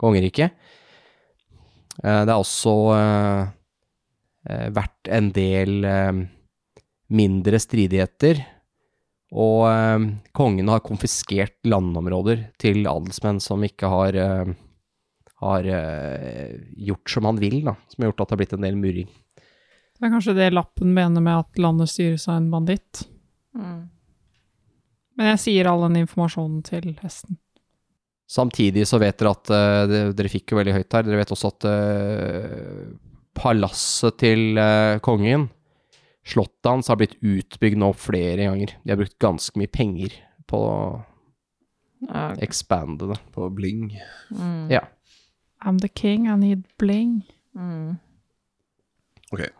S3: kongeriket. Eh, det har også eh, eh, vært en del eh, mindre stridigheter, og eh, kongen har konfiskert landområder til adelsmenn som ikke har, eh, har eh, gjort som han vil, da, som har gjort at det har blitt en del murring.
S7: Det er kanskje det lappen mener med at landet styres av en banditt.
S2: Mm.
S7: Men jeg sier all den informasjonen til hesten.
S3: Samtidig så vet dere at eh, det- Dere fikk jo veldig høyt her. Dere vet også at eh, palasset til eh, kongen Slottet hans har blitt utbygd nå flere ganger. De har brukt ganske mye penger på å
S2: Ja,
S3: expande det.
S4: På bling.
S2: mm,
S3: Ja.
S7: I'm the king, I need bling.
S2: mm.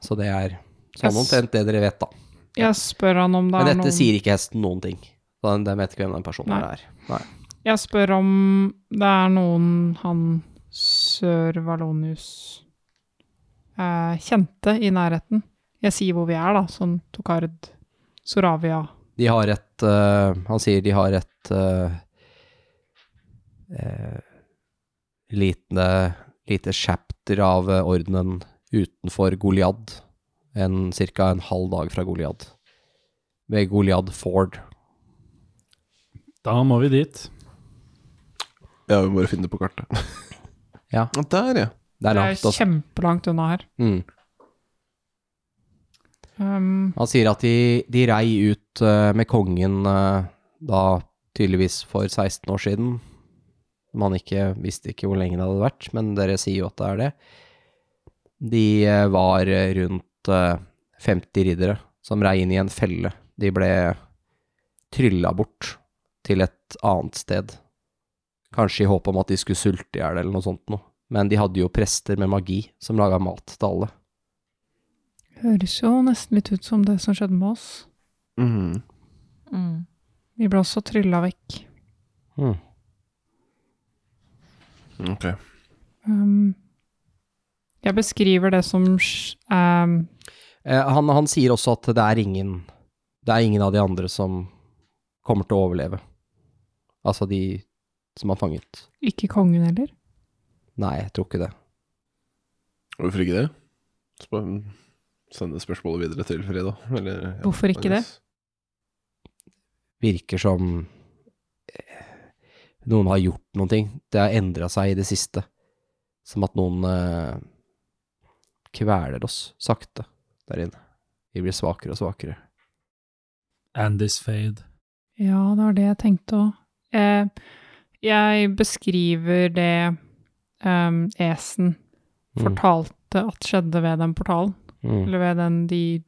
S3: Så det er sånn
S7: Yes.
S3: omtrent det dere vet, da.
S7: Jeg spør han om det
S3: Men
S7: er
S3: dette
S7: noen
S3: sier ikke hesten noen ting. Så Den, den vet ikke hvem den personen
S7: Nei.
S3: her er. Nei.
S7: Jeg spør om det er noen han Sør-Valonius eh, kjente i nærheten. Jeg sier hvor vi er, da. Sånn Tokard, Soravia
S3: De har et eh, Han sier de har et eh, eh, lite, lite chapter av eh, ordenen utenfor Goliad. En, cirka en halv dag fra Goliad. Ved Goliad Ford.
S6: Da må vi dit.
S4: Ja, vi må bare finne det på kartet.
S3: Ja.
S4: Der, ja.
S3: Det er
S7: Det
S3: langt,
S7: er
S3: altså.
S7: kjempelangt unna her.
S3: Mm.
S7: Um,
S3: Han sier at de, de rei ut eh, med kongen eh, da tydeligvis for 16 år siden. Man ikke, visste ikke hvor lenge det hadde vært, men dere sier jo at det er det. De eh, var eh, rundt eh, 50 riddere som rei inn i en felle. De ble trylla bort til et annet sted. Kanskje i håp om at de skulle sulte i hjel eller noe sånt noe. Men de hadde jo prester med magi som laga mat til alle.
S7: høres jo nesten litt ut som det som skjedde med oss.
S4: Mm.
S2: Mm.
S7: Vi ble også trylla vekk.
S4: Ok.
S7: Um, jeg beskriver det som sj- um,
S3: Eh, han, han sier også at det er ingen Det er ingen av de andre som kommer til å overleve. Altså de som er fanget.
S7: ikke kongen heller.
S3: Nei, jeg tror ikke det.
S4: Hvorfor ikke det? Sp sende spørsmålet videre til Frida. Eller, ja,
S7: Hvorfor ikke det?
S4: Agnes.
S3: Virker som eh, noen har gjort noen ting. Det har endra seg i det siste. Som at noen eh, kveler oss sakte der inne. Vi blir svakere og svakere.
S6: And this fade.
S7: Ja, det var det jeg tenkte òg. Eh, jeg beskriver det um, Esen
S3: Mm.
S7: fortalte at skjedde ved den portalen.
S3: Mm.
S7: Eller ved den, de,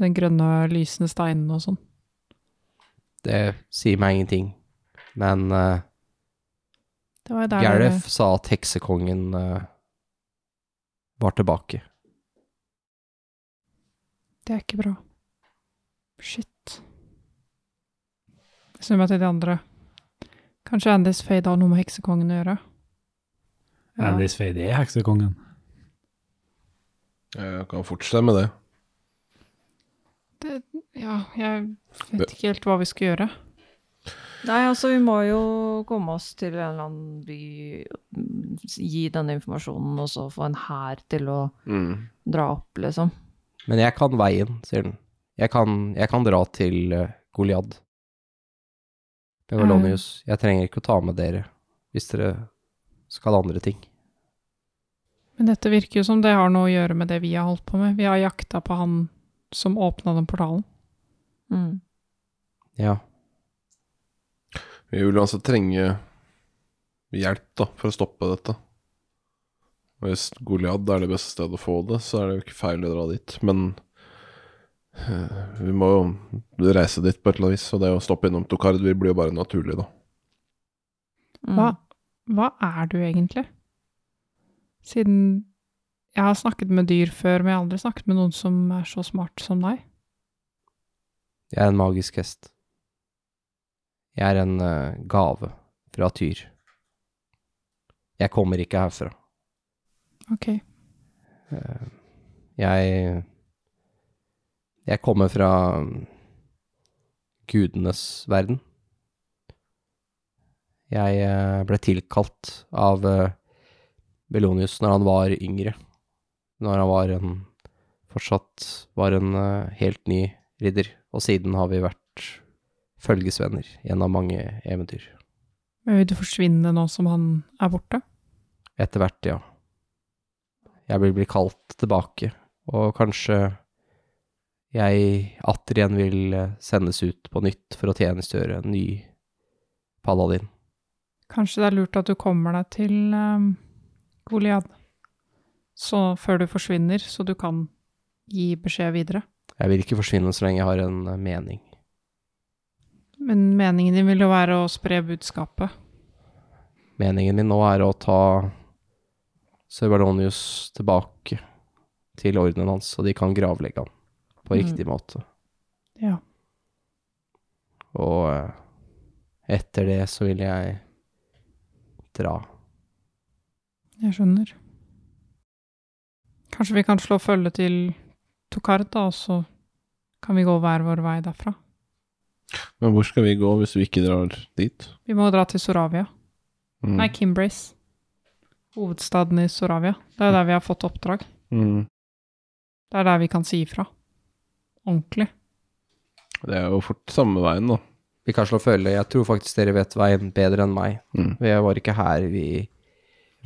S7: den grønne, lysende steinen og sånn.
S3: Det sier meg ingenting. Men eh,
S7: Det var jo der dere-
S3: Gareth sa at heksekongen eh, var tilbake.
S7: Det er ikke bra. Shit. Jeg snur meg til de andre. Kanskje Andys fade har noe med heksekongen å gjøre? Ja.
S6: And this fade er heksekongen.
S4: Jeg kan fortsette med det.
S7: ja, jeg vet ikke helt hva vi skal gjøre.
S2: Nei, altså vi må jo komme oss til en eller annen by, mm, gi denne informasjonen, og så få en hær til å dra opp, liksom.
S3: Men jeg kan veien, sier den. Jeg kan, jeg kan dra til eh, Goliad. Bevalonius, jeg trenger ikke å ta med dere hvis dere skal andre ting.
S7: Men dette virker jo som det har noe å gjøre med det vi har holdt på med. Vi har jakta på han som åpna den portalen.
S2: Mm.
S3: Ja,
S4: Vi vil altså trenge hjelp da, for å stoppe dette. Og Hvis Goliad er det beste stedet å få det, så er det jo ikke feil å dra dit. Men eh, vi må jo reise dit på et eller annet vis, og det å stoppe innom Tokard vi blir jo bare naturlig, da.
S2: Mm.
S7: Hva, hva er du egentlig? Siden jeg har snakket med dyr før, men jeg har aldri snakket med noen som er så smart som deg.
S3: jeg er en magisk hest. Jeg er en eh, gave fra Tyr. Jeg kommer ikke herfra.
S7: Ok.
S3: Eh, Jeg Jeg kommer fra mm, gudenes verden. Jeg eh, ble tilkalt av eh, Bellonius når han var yngre. Når han var en fortsatt var en eh, helt ny ridder. Og siden har vi vært følgesvenner gjennom mange eventyr.
S7: Men vil du forsvinne nå som han er borte?
S3: Etter hvert, ja. Jeg vil bli kalt tilbake, og kanskje jeg atter igjen vil eh, sendes ut på nytt for å tjenestegjøre en ny paladin.
S7: Kanskje det er lurt at du kommer deg til um, Goliad så før du forsvinner, så du kan gi beskjed videre.
S3: Jeg vil ikke forsvinne så lenge jeg har en eh, mening.
S7: Men meningen din vil jo være å spre budskapet.
S3: Meningen min nå er å ta Serbalonius tilbake til ordenen hans, så de kan gravlegge han på
S2: Mm.
S3: riktig måte.
S7: Ja.
S3: Og eh, etter det så vil jeg dra.
S7: Jeg skjønner. Kanskje vi kan slå følge til Tokard, da, og så kan vi gå hver vår vei derfra.
S5: Men hvor skal vi gå hvis vi ikke drar dit?
S7: Vi må dra til Soravia.
S5: Mm.
S7: Nei, Kimbrace. Hovedstaden i Soravia. Det er der vi har fått oppdrag.
S5: Mm.
S7: Det er der vi kan si ifra. Ordentlig.
S5: Det er jo fort samme veien, da.
S3: Vi kan slå følge. Jeg tror faktisk dere vet veien bedre enn meg.
S5: Mm.
S3: Jeg var ikke her vi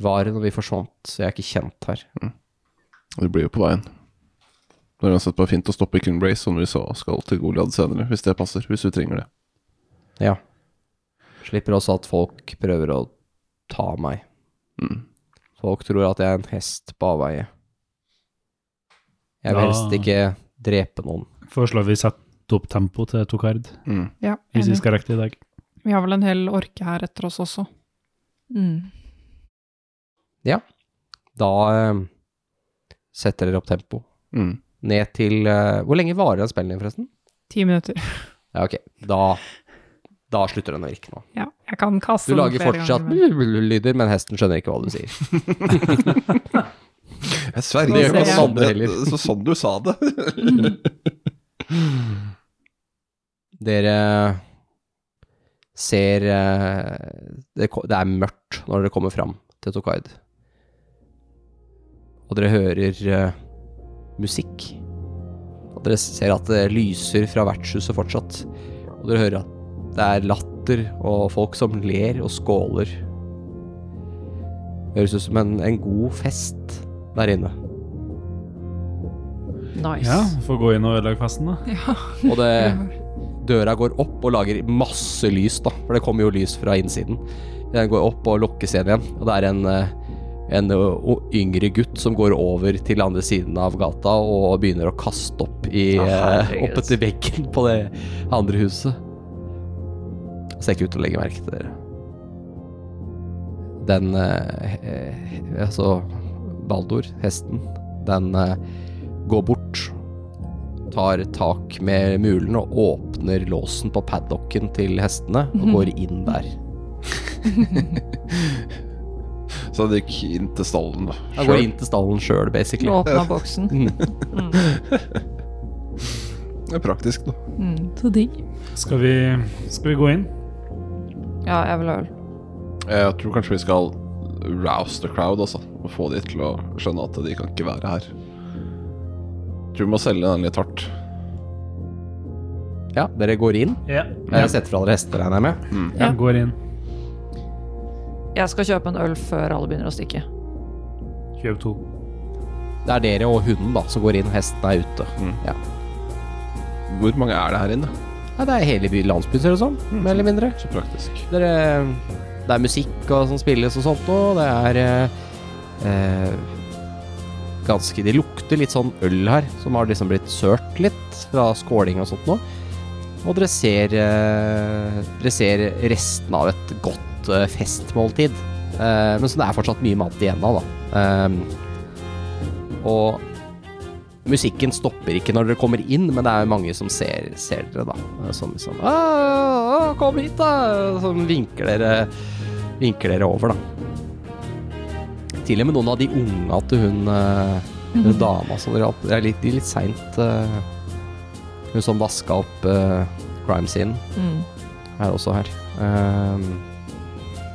S3: var når vi forsvant, så jeg er ikke kjent her.
S5: Det blir jo på veien. Det er uansett bare fint å stoppe i Kinbrace, som vi så skal til Goliad senere, hvis det passer. Hvis vi trenger det.
S3: Ja. Slipper også at folk prøver å ta meg.
S5: Mm.
S3: Folk tror at jeg er en hest på avveie. Jeg vil
S10: Ja.
S3: helst ikke drepe noen.
S6: Foreslår vi sette opp tempo til Tokard,
S5: Mm.
S7: Ja,
S6: hvis vi
S7: enig.
S6: skal rekke det i dag.
S7: Vi har vel en hel orke her etter oss også.
S2: Mm.
S3: Da eh, setter dere opp tempo.
S5: Mm.
S3: Ned til eh, Hvor lenge varer den spillen din, forresten?
S7: Ti minutter.
S3: Ja, ok. Da, da slutter den å virke nå.
S7: Ja, jeg kan kaste
S3: Du
S7: den
S3: lager
S7: flere
S3: fortsatt
S7: ganger, men-
S3: lyder, men hesten skjønner ikke hva du sier.
S5: Jeg sverger,
S7: Det
S5: det
S7: gjør
S5: var
S7: ikke
S5: sånn,
S3: andre heller.
S5: det- så sånn du sa det.
S3: Dere ser eh, det, ko- det er mørkt når dere kommer fram til Tokaid. Og dere hører eh, musikk. Og dere ser at det lyser fra vertshuset fortsatt. Og dere hører at det er latter og folk som ler og skåler. Høres ut som en, en god fest der inne.
S2: Nice.
S6: Ja, får gå inn og ødelegge festen, da.
S3: Og det Døra går opp og lager masse lys, da, for det kommer jo lys fra innsiden. Den går opp og lukkes igjen igjen, og det er en, eh, en eh, o- yngre gutt som går over til andre siden av gata og begynner å kaste opp i,
S2: Å,
S3: eh,
S2: herregud.
S3: opp etter veggen på det andre huset. Ser ikke ut til å legge merke til dere. Den eh, eh, Altså, Baldor, hesten, den eh, går bort tar tak med mulen og åpner låsen på paddocken til hestene og går inn der.
S5: Så det gikk inn til stallen, da.
S3: Han går inn til stallen sjøl, basically.
S2: Åpna boksen.
S5: Det er praktisk, da.
S2: Mm.
S7: Så digg.
S6: Skal vi, skal vi gå inn?
S2: Ja, jeg vil ha øl.
S5: Jeg tror kanskje vi skal rouse the crowd, altså. Og få de til å skjønne at de kan ikke være her. Tror vi må selge den litt hardt.
S3: Ja, dere går inn.
S6: Ja.
S3: Jeg har sett fra dere hester, regner jeg med.
S6: Jeg går inn.
S2: Jeg skal kjøpe en øl før alle begynner å stikke.
S6: Kjøp to.
S3: Det er dere og hunden da som går inn, hesten er ute. Ja.
S5: Hvor mange er det her inne?
S3: Ja, det er hele by- landsbyen, ser det ut som. Mer eller mindre.
S5: Så praktisk.
S3: Dere, det er musikk og som spilles og sånt, og det er eh, eh, ganske Det lukter litt sånn øl her, som har liksom blitt sølt litt fra skåling og sånt nå. Og dere ser, eh, dere ser resten av et godt eh, festmåltid. Eh, men så det er fortsatt mye mat igjen av, da. Eh, og musikken stopper ikke når dere kommer inn, men det er jo mange som ser, ser dere, da. Som liksom «Å, å, 'Kom hit, da!' Som vinker dere, vinker dere over, da. Til og med noen av de unga til hun, eh, hun dama som dere Det er litt, de er litt seint eh, Hun som vaska opp eh, crime scene,
S2: Mm.
S3: er også her. Ehm,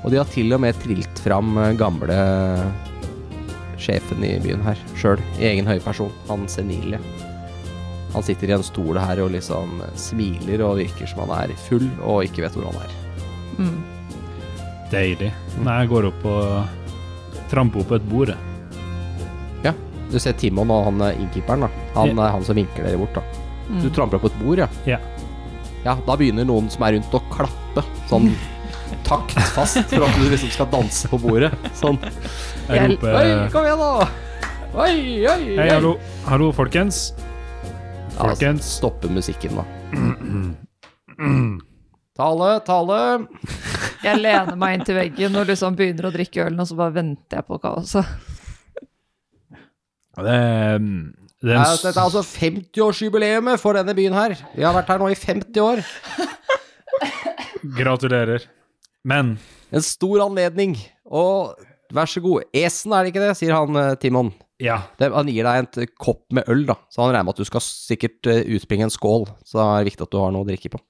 S3: og de har til og med trilt fram eh, gamle sjefen i byen her sjøl, i egen høyperson, han senile. Han sitter i en stol her og liksom smiler og virker som han er full og ikke vet hvor han er.
S2: Mm.
S6: Deilig. Nei, jeg går opp og tramper opp et bord. jeg.
S3: Du ser Timon og han eh, innkeeperen, da. Han er han som vinker dere bort, da. Du tramper opp et bord, ja.
S6: Ja.
S3: Ja, da begynner noen som er rundt å klappe, sånn taktfast, for at du liksom skal danse på bordet. Sånn.
S6: Jeg
S2: Jeg-
S6: roper
S3: Oi, kom igjen, da! Oi, oi,
S6: Hei,
S3: oi!
S6: hallo. hallo, folkens.
S3: Ja,
S6: Folkens.
S3: stoppe musikken, da. Tale, tale.
S2: Jeg lener meg inn til veggen og liksom begynner å drikke ølen, og så bare venter jeg på kaoset.
S6: Det, det er
S3: Ja,
S6: en
S3: Dette er altså 50-årsjubileet for denne byen her. Vi har vært her nå i 50 år.
S6: Gratulerer. Men
S3: En stor anledning. Og vær så god. Esen, er det ikke det? sier han eh, Timon.
S6: ja,
S3: Det, han gir deg en t- kopp med øl, da. Så han regner med at du skal sikkert eh, utbringe en skål. Så da er det viktig at du har noe å drikke på.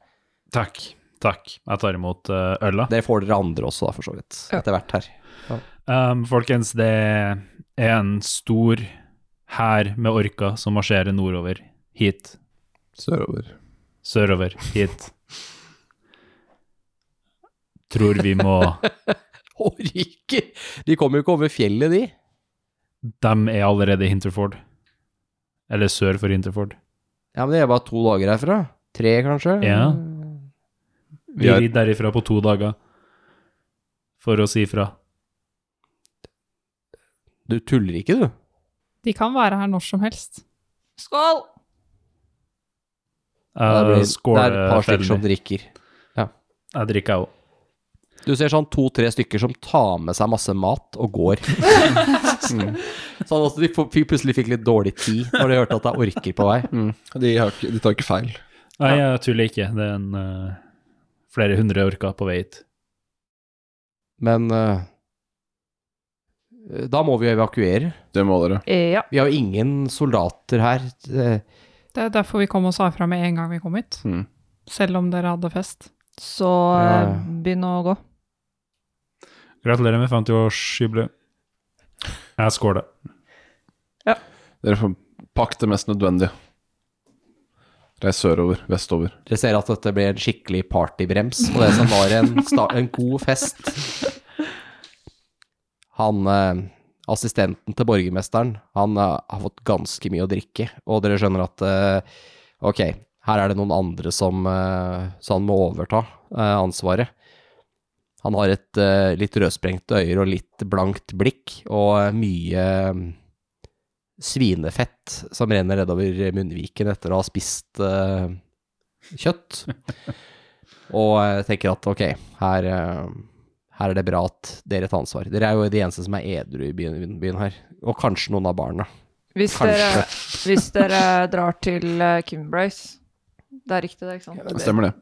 S6: takk. Takk. Jeg tar imot eh, øla.
S3: Det får dere andre også, da, for så vidt. Etter hvert her.
S6: Um, folkens, det er en stor hær med orker som marsjerer nordover, hit,
S4: Sørover.
S6: sørover, hit. Tror vi må
S3: Å, ryker! De kommer jo ikke over fjellet, de.
S6: Dem er allerede i Hinterford. Eller sør for Hinterford.
S3: Ja, men det er bare to dager herfra. Tre, kanskje?
S6: Ja. Vi
S4: Vi er-
S6: rir derifra på to dager for å si ifra.
S3: Du tuller ikke, du?
S7: De kan være her når som helst.
S2: Skål!
S3: det,
S6: Uh,
S3: blir, det er et par stykker som
S6: Skålefellen.
S3: drikker.
S6: Jeg drikker, jeg òg.
S3: Du ser sånn to-tre stykker som tar med seg masse mat og går. sånn at de får- fikk- plutselig fikk litt dårlig tid når de hørte at det er orker på vei.
S5: Mm. De, har ikke, de tar ikke feil.
S6: Nei, jeg tuller ikke. Det er en, eh, flere hundre orker på vei hit.
S3: Men eh, da må vi jo evakuere.
S4: Det må dere.
S2: Eh, Ja.
S3: Vi har jo ingen soldater her. Eh,
S7: Det er derfor vi kom og sa ifra med en gang vi kom hit.
S4: Mm.
S7: Selv om dere hadde fest.
S2: Så eh,
S3: Ja.
S2: begynn å gå.
S6: Gratulerer med 50-årsjubileet. Jeg skåler.
S4: Dere får pakk det mest nødvendige. Reis sørover, vestover.
S3: Dere ser at dette ble en skikkelig partybrems på det som var en, sta en god fest. Han eh, assistenten til borgermesteren, han eh, har fått ganske mye å drikke, og dere skjønner at eh, ok, her er det noen andre som eh, så han må overta eh, ansvaret. Han har et eh, litt rødsprengte øyer og litt blankt blikk, og eh, mye eh, svinefett som renner nedover munnviken etter å ha spist eh, kjøtt. Og jeg tenker at ok, her, eh, her er det bra at dere tar ansvar. Dere er jo de eneste som er edru i byen, byen her. Og kanskje noen av barna.
S2: Hvis dere, hvis dere drar til eh, Kimbrace Det er riktig, det, ikke sant?
S4: Det stemmer, det.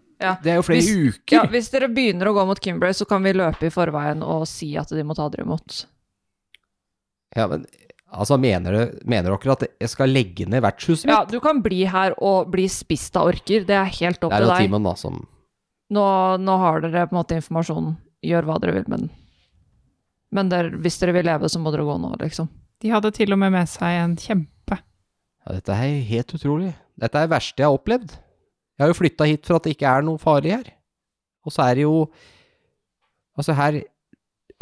S3: Det er jo flere
S2: Hvis-
S3: uker!
S2: Ja, hvis dere begynner å gå mot Kimbrace, så kan vi løpe i forveien og si at de må ta dere imot.
S3: Ja, men altså, mener, du, mener dere at jeg skal legge ned vertshuset mitt?
S2: Ja, du kan bli her og bli spist av orker. Det er helt opp
S3: det er
S2: til
S3: jo
S2: deg.
S3: Timon, da, som
S2: Nå, nå har dere på en måte informasjonen. Gjør hva dere vil med den. Men dere, hvis dere vil leve, så må dere gå nå, liksom.
S7: De hadde til og med med seg en kjempe.
S3: Ja, dette er helt utrolig. Dette er det verste jeg har opplevd. Jeg har jo flytta hit for at det ikke er noe farlig her. Og så er det jo Altså, her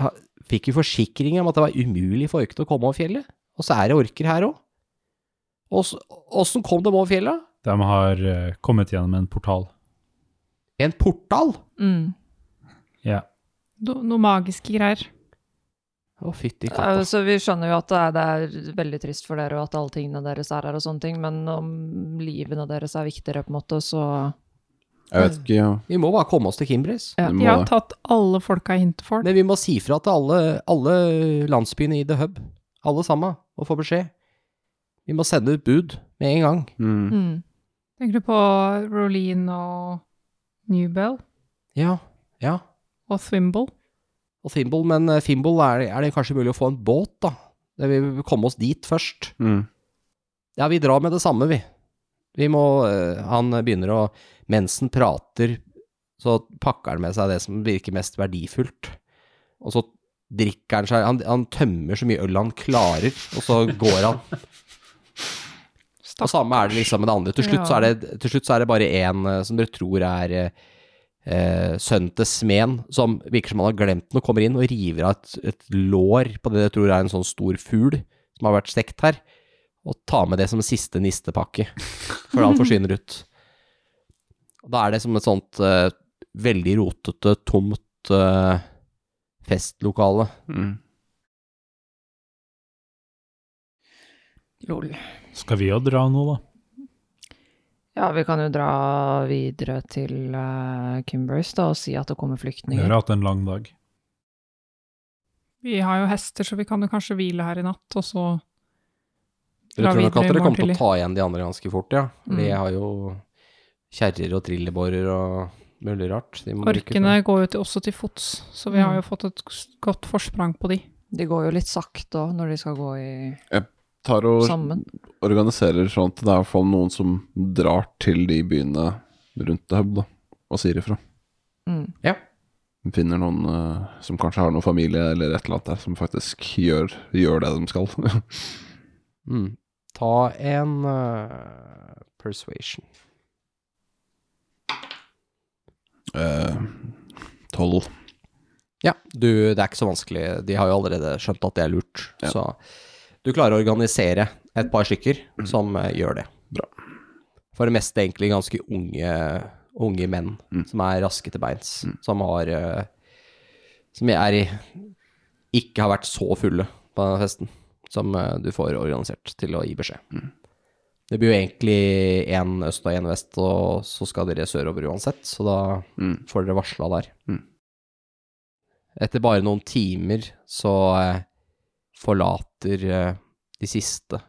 S3: ha- fikk vi forsikringer om at det var umulig for orkene å komme over fjellet. Og så er det orker her òg. Åssen kom de over fjellet?
S6: De har eh, kommet gjennom en portal.
S3: En portal?
S2: Mm.
S6: Ja.
S7: No, noe magiske greier.
S3: Å, fytti
S2: Eh,
S3: katta.
S2: Så vi skjønner jo at det er, det er veldig trist for dere, og at alle tingene deres er her og sånne ting, men om livene deres er viktigere, på en måte, så
S4: Jeg vet ikke, ja.
S3: Vi må bare komme oss til Kimbris.
S2: Ja,
S4: Det
S7: De
S4: må
S7: har
S4: det.
S7: tatt alle folka i Hinterford.
S3: Men vi må si fra til alle, alle landsbyene i The Hub, alle sammen, og få beskjed. Vi må sende ut bud med en gang.
S4: Mm.
S2: mm.
S7: Tenker du på Roline og Newbell
S3: Ja, ja.
S7: og Thimble?
S3: og Thimble, men eh, Thimble er, er det kanskje mulig å få en båt, da? Det vi vil komme oss dit først.
S4: Mm.
S3: Ja, vi drar med det samme, vi. Vi må eh, Han begynner å Mens han prater, så pakker han med seg det som virker mest verdifullt. Og så drikker han seg Han, han tømmer så mye øl han klarer, og så går han. Og samme er det liksom med det andre. Til slutt, så, er det, til slutt så er det bare én eh, som dere tror er eh, eh, sønnen til smeden, som virker som han har glemt noe, kommer inn og river av et, et lår på det dere tror er en sånn stor fugl som har vært stekt her, og tar med det som siste nistepakke før han forsvinner ut. Og da er det som et sånt eh, veldig rotete, tomt eh, festlokale.
S4: Mm.
S2: Lol.
S6: Skal vi jo dra nå, da?
S2: Ja, vi kan jo dra videre til uh, Kimbers da, og si at det kommer
S6: Vi
S2: flyktninger.
S6: har hatt en lang dag.
S7: Vi har jo hester, så vi kan jo kanskje hvile her i natt, og så
S3: Dere
S7: dra
S3: tror nok at
S7: videre
S3: dere
S7: i
S3: kommer
S7: morgen
S3: til å
S7: tidlig.
S3: ta igjen de andre ganske fort, ja. For de
S2: Mm.
S3: har jo kjerrer og trillebårer og mulig rart. De må bruke
S7: Orkene går jo til, også til fots, så vi har
S2: Mm.
S7: jo fått et s- godt forsprang på de.
S2: De går jo litt sakte òg når de skal gå i
S4: Tar og
S2: sammen.
S4: organiserer sånn at det er i hvert fall noen som drar til de byene rundt The Hub, da, og sier ifra.
S2: Mm.
S4: Finner noen eh, som kanskje har noen familie eller et eller annet der, som faktisk gjør, gjør det de skal.
S3: Mm. Ta en eh, persuasion.
S4: Eh, Tolv.
S3: Ja, du, det er ikke så vanskelig. De har jo allerede skjønt at det er lurt.
S4: Ja.
S3: Så du klarer å organisere et par stykker som eh, gjør det.
S4: Bra.
S3: For det meste egentlig ganske unge, unge menn
S4: Mm.
S3: som er raske til beins. Som har eh, Som er i Ikke har vært så fulle på denne festen. Som eh, du får organisert til å gi beskjed.
S4: Mm.
S3: Det blir jo egentlig én øst og én vest, og så skal dere sørover uansett. Så da
S4: Mm.
S3: får dere varsla der.
S4: Mm.
S3: Etter bare noen timer så eh, forlater eh, de siste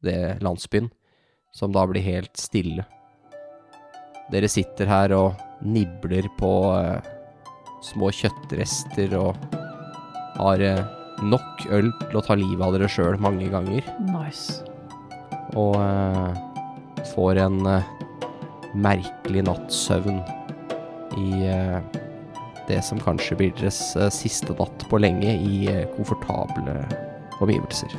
S3: det landsbyen, som da blir helt stille. Dere sitter her og nibler på eh, små kjøttrester og har eh, nok øl til å ta livet av dere sjøl mange ganger
S2: Nice.
S3: og eh, får en eh, merkelig nattsøvn i eh, det som kanskje blir deres eh, siste natt på lenge i eh, komfortable omgivelser.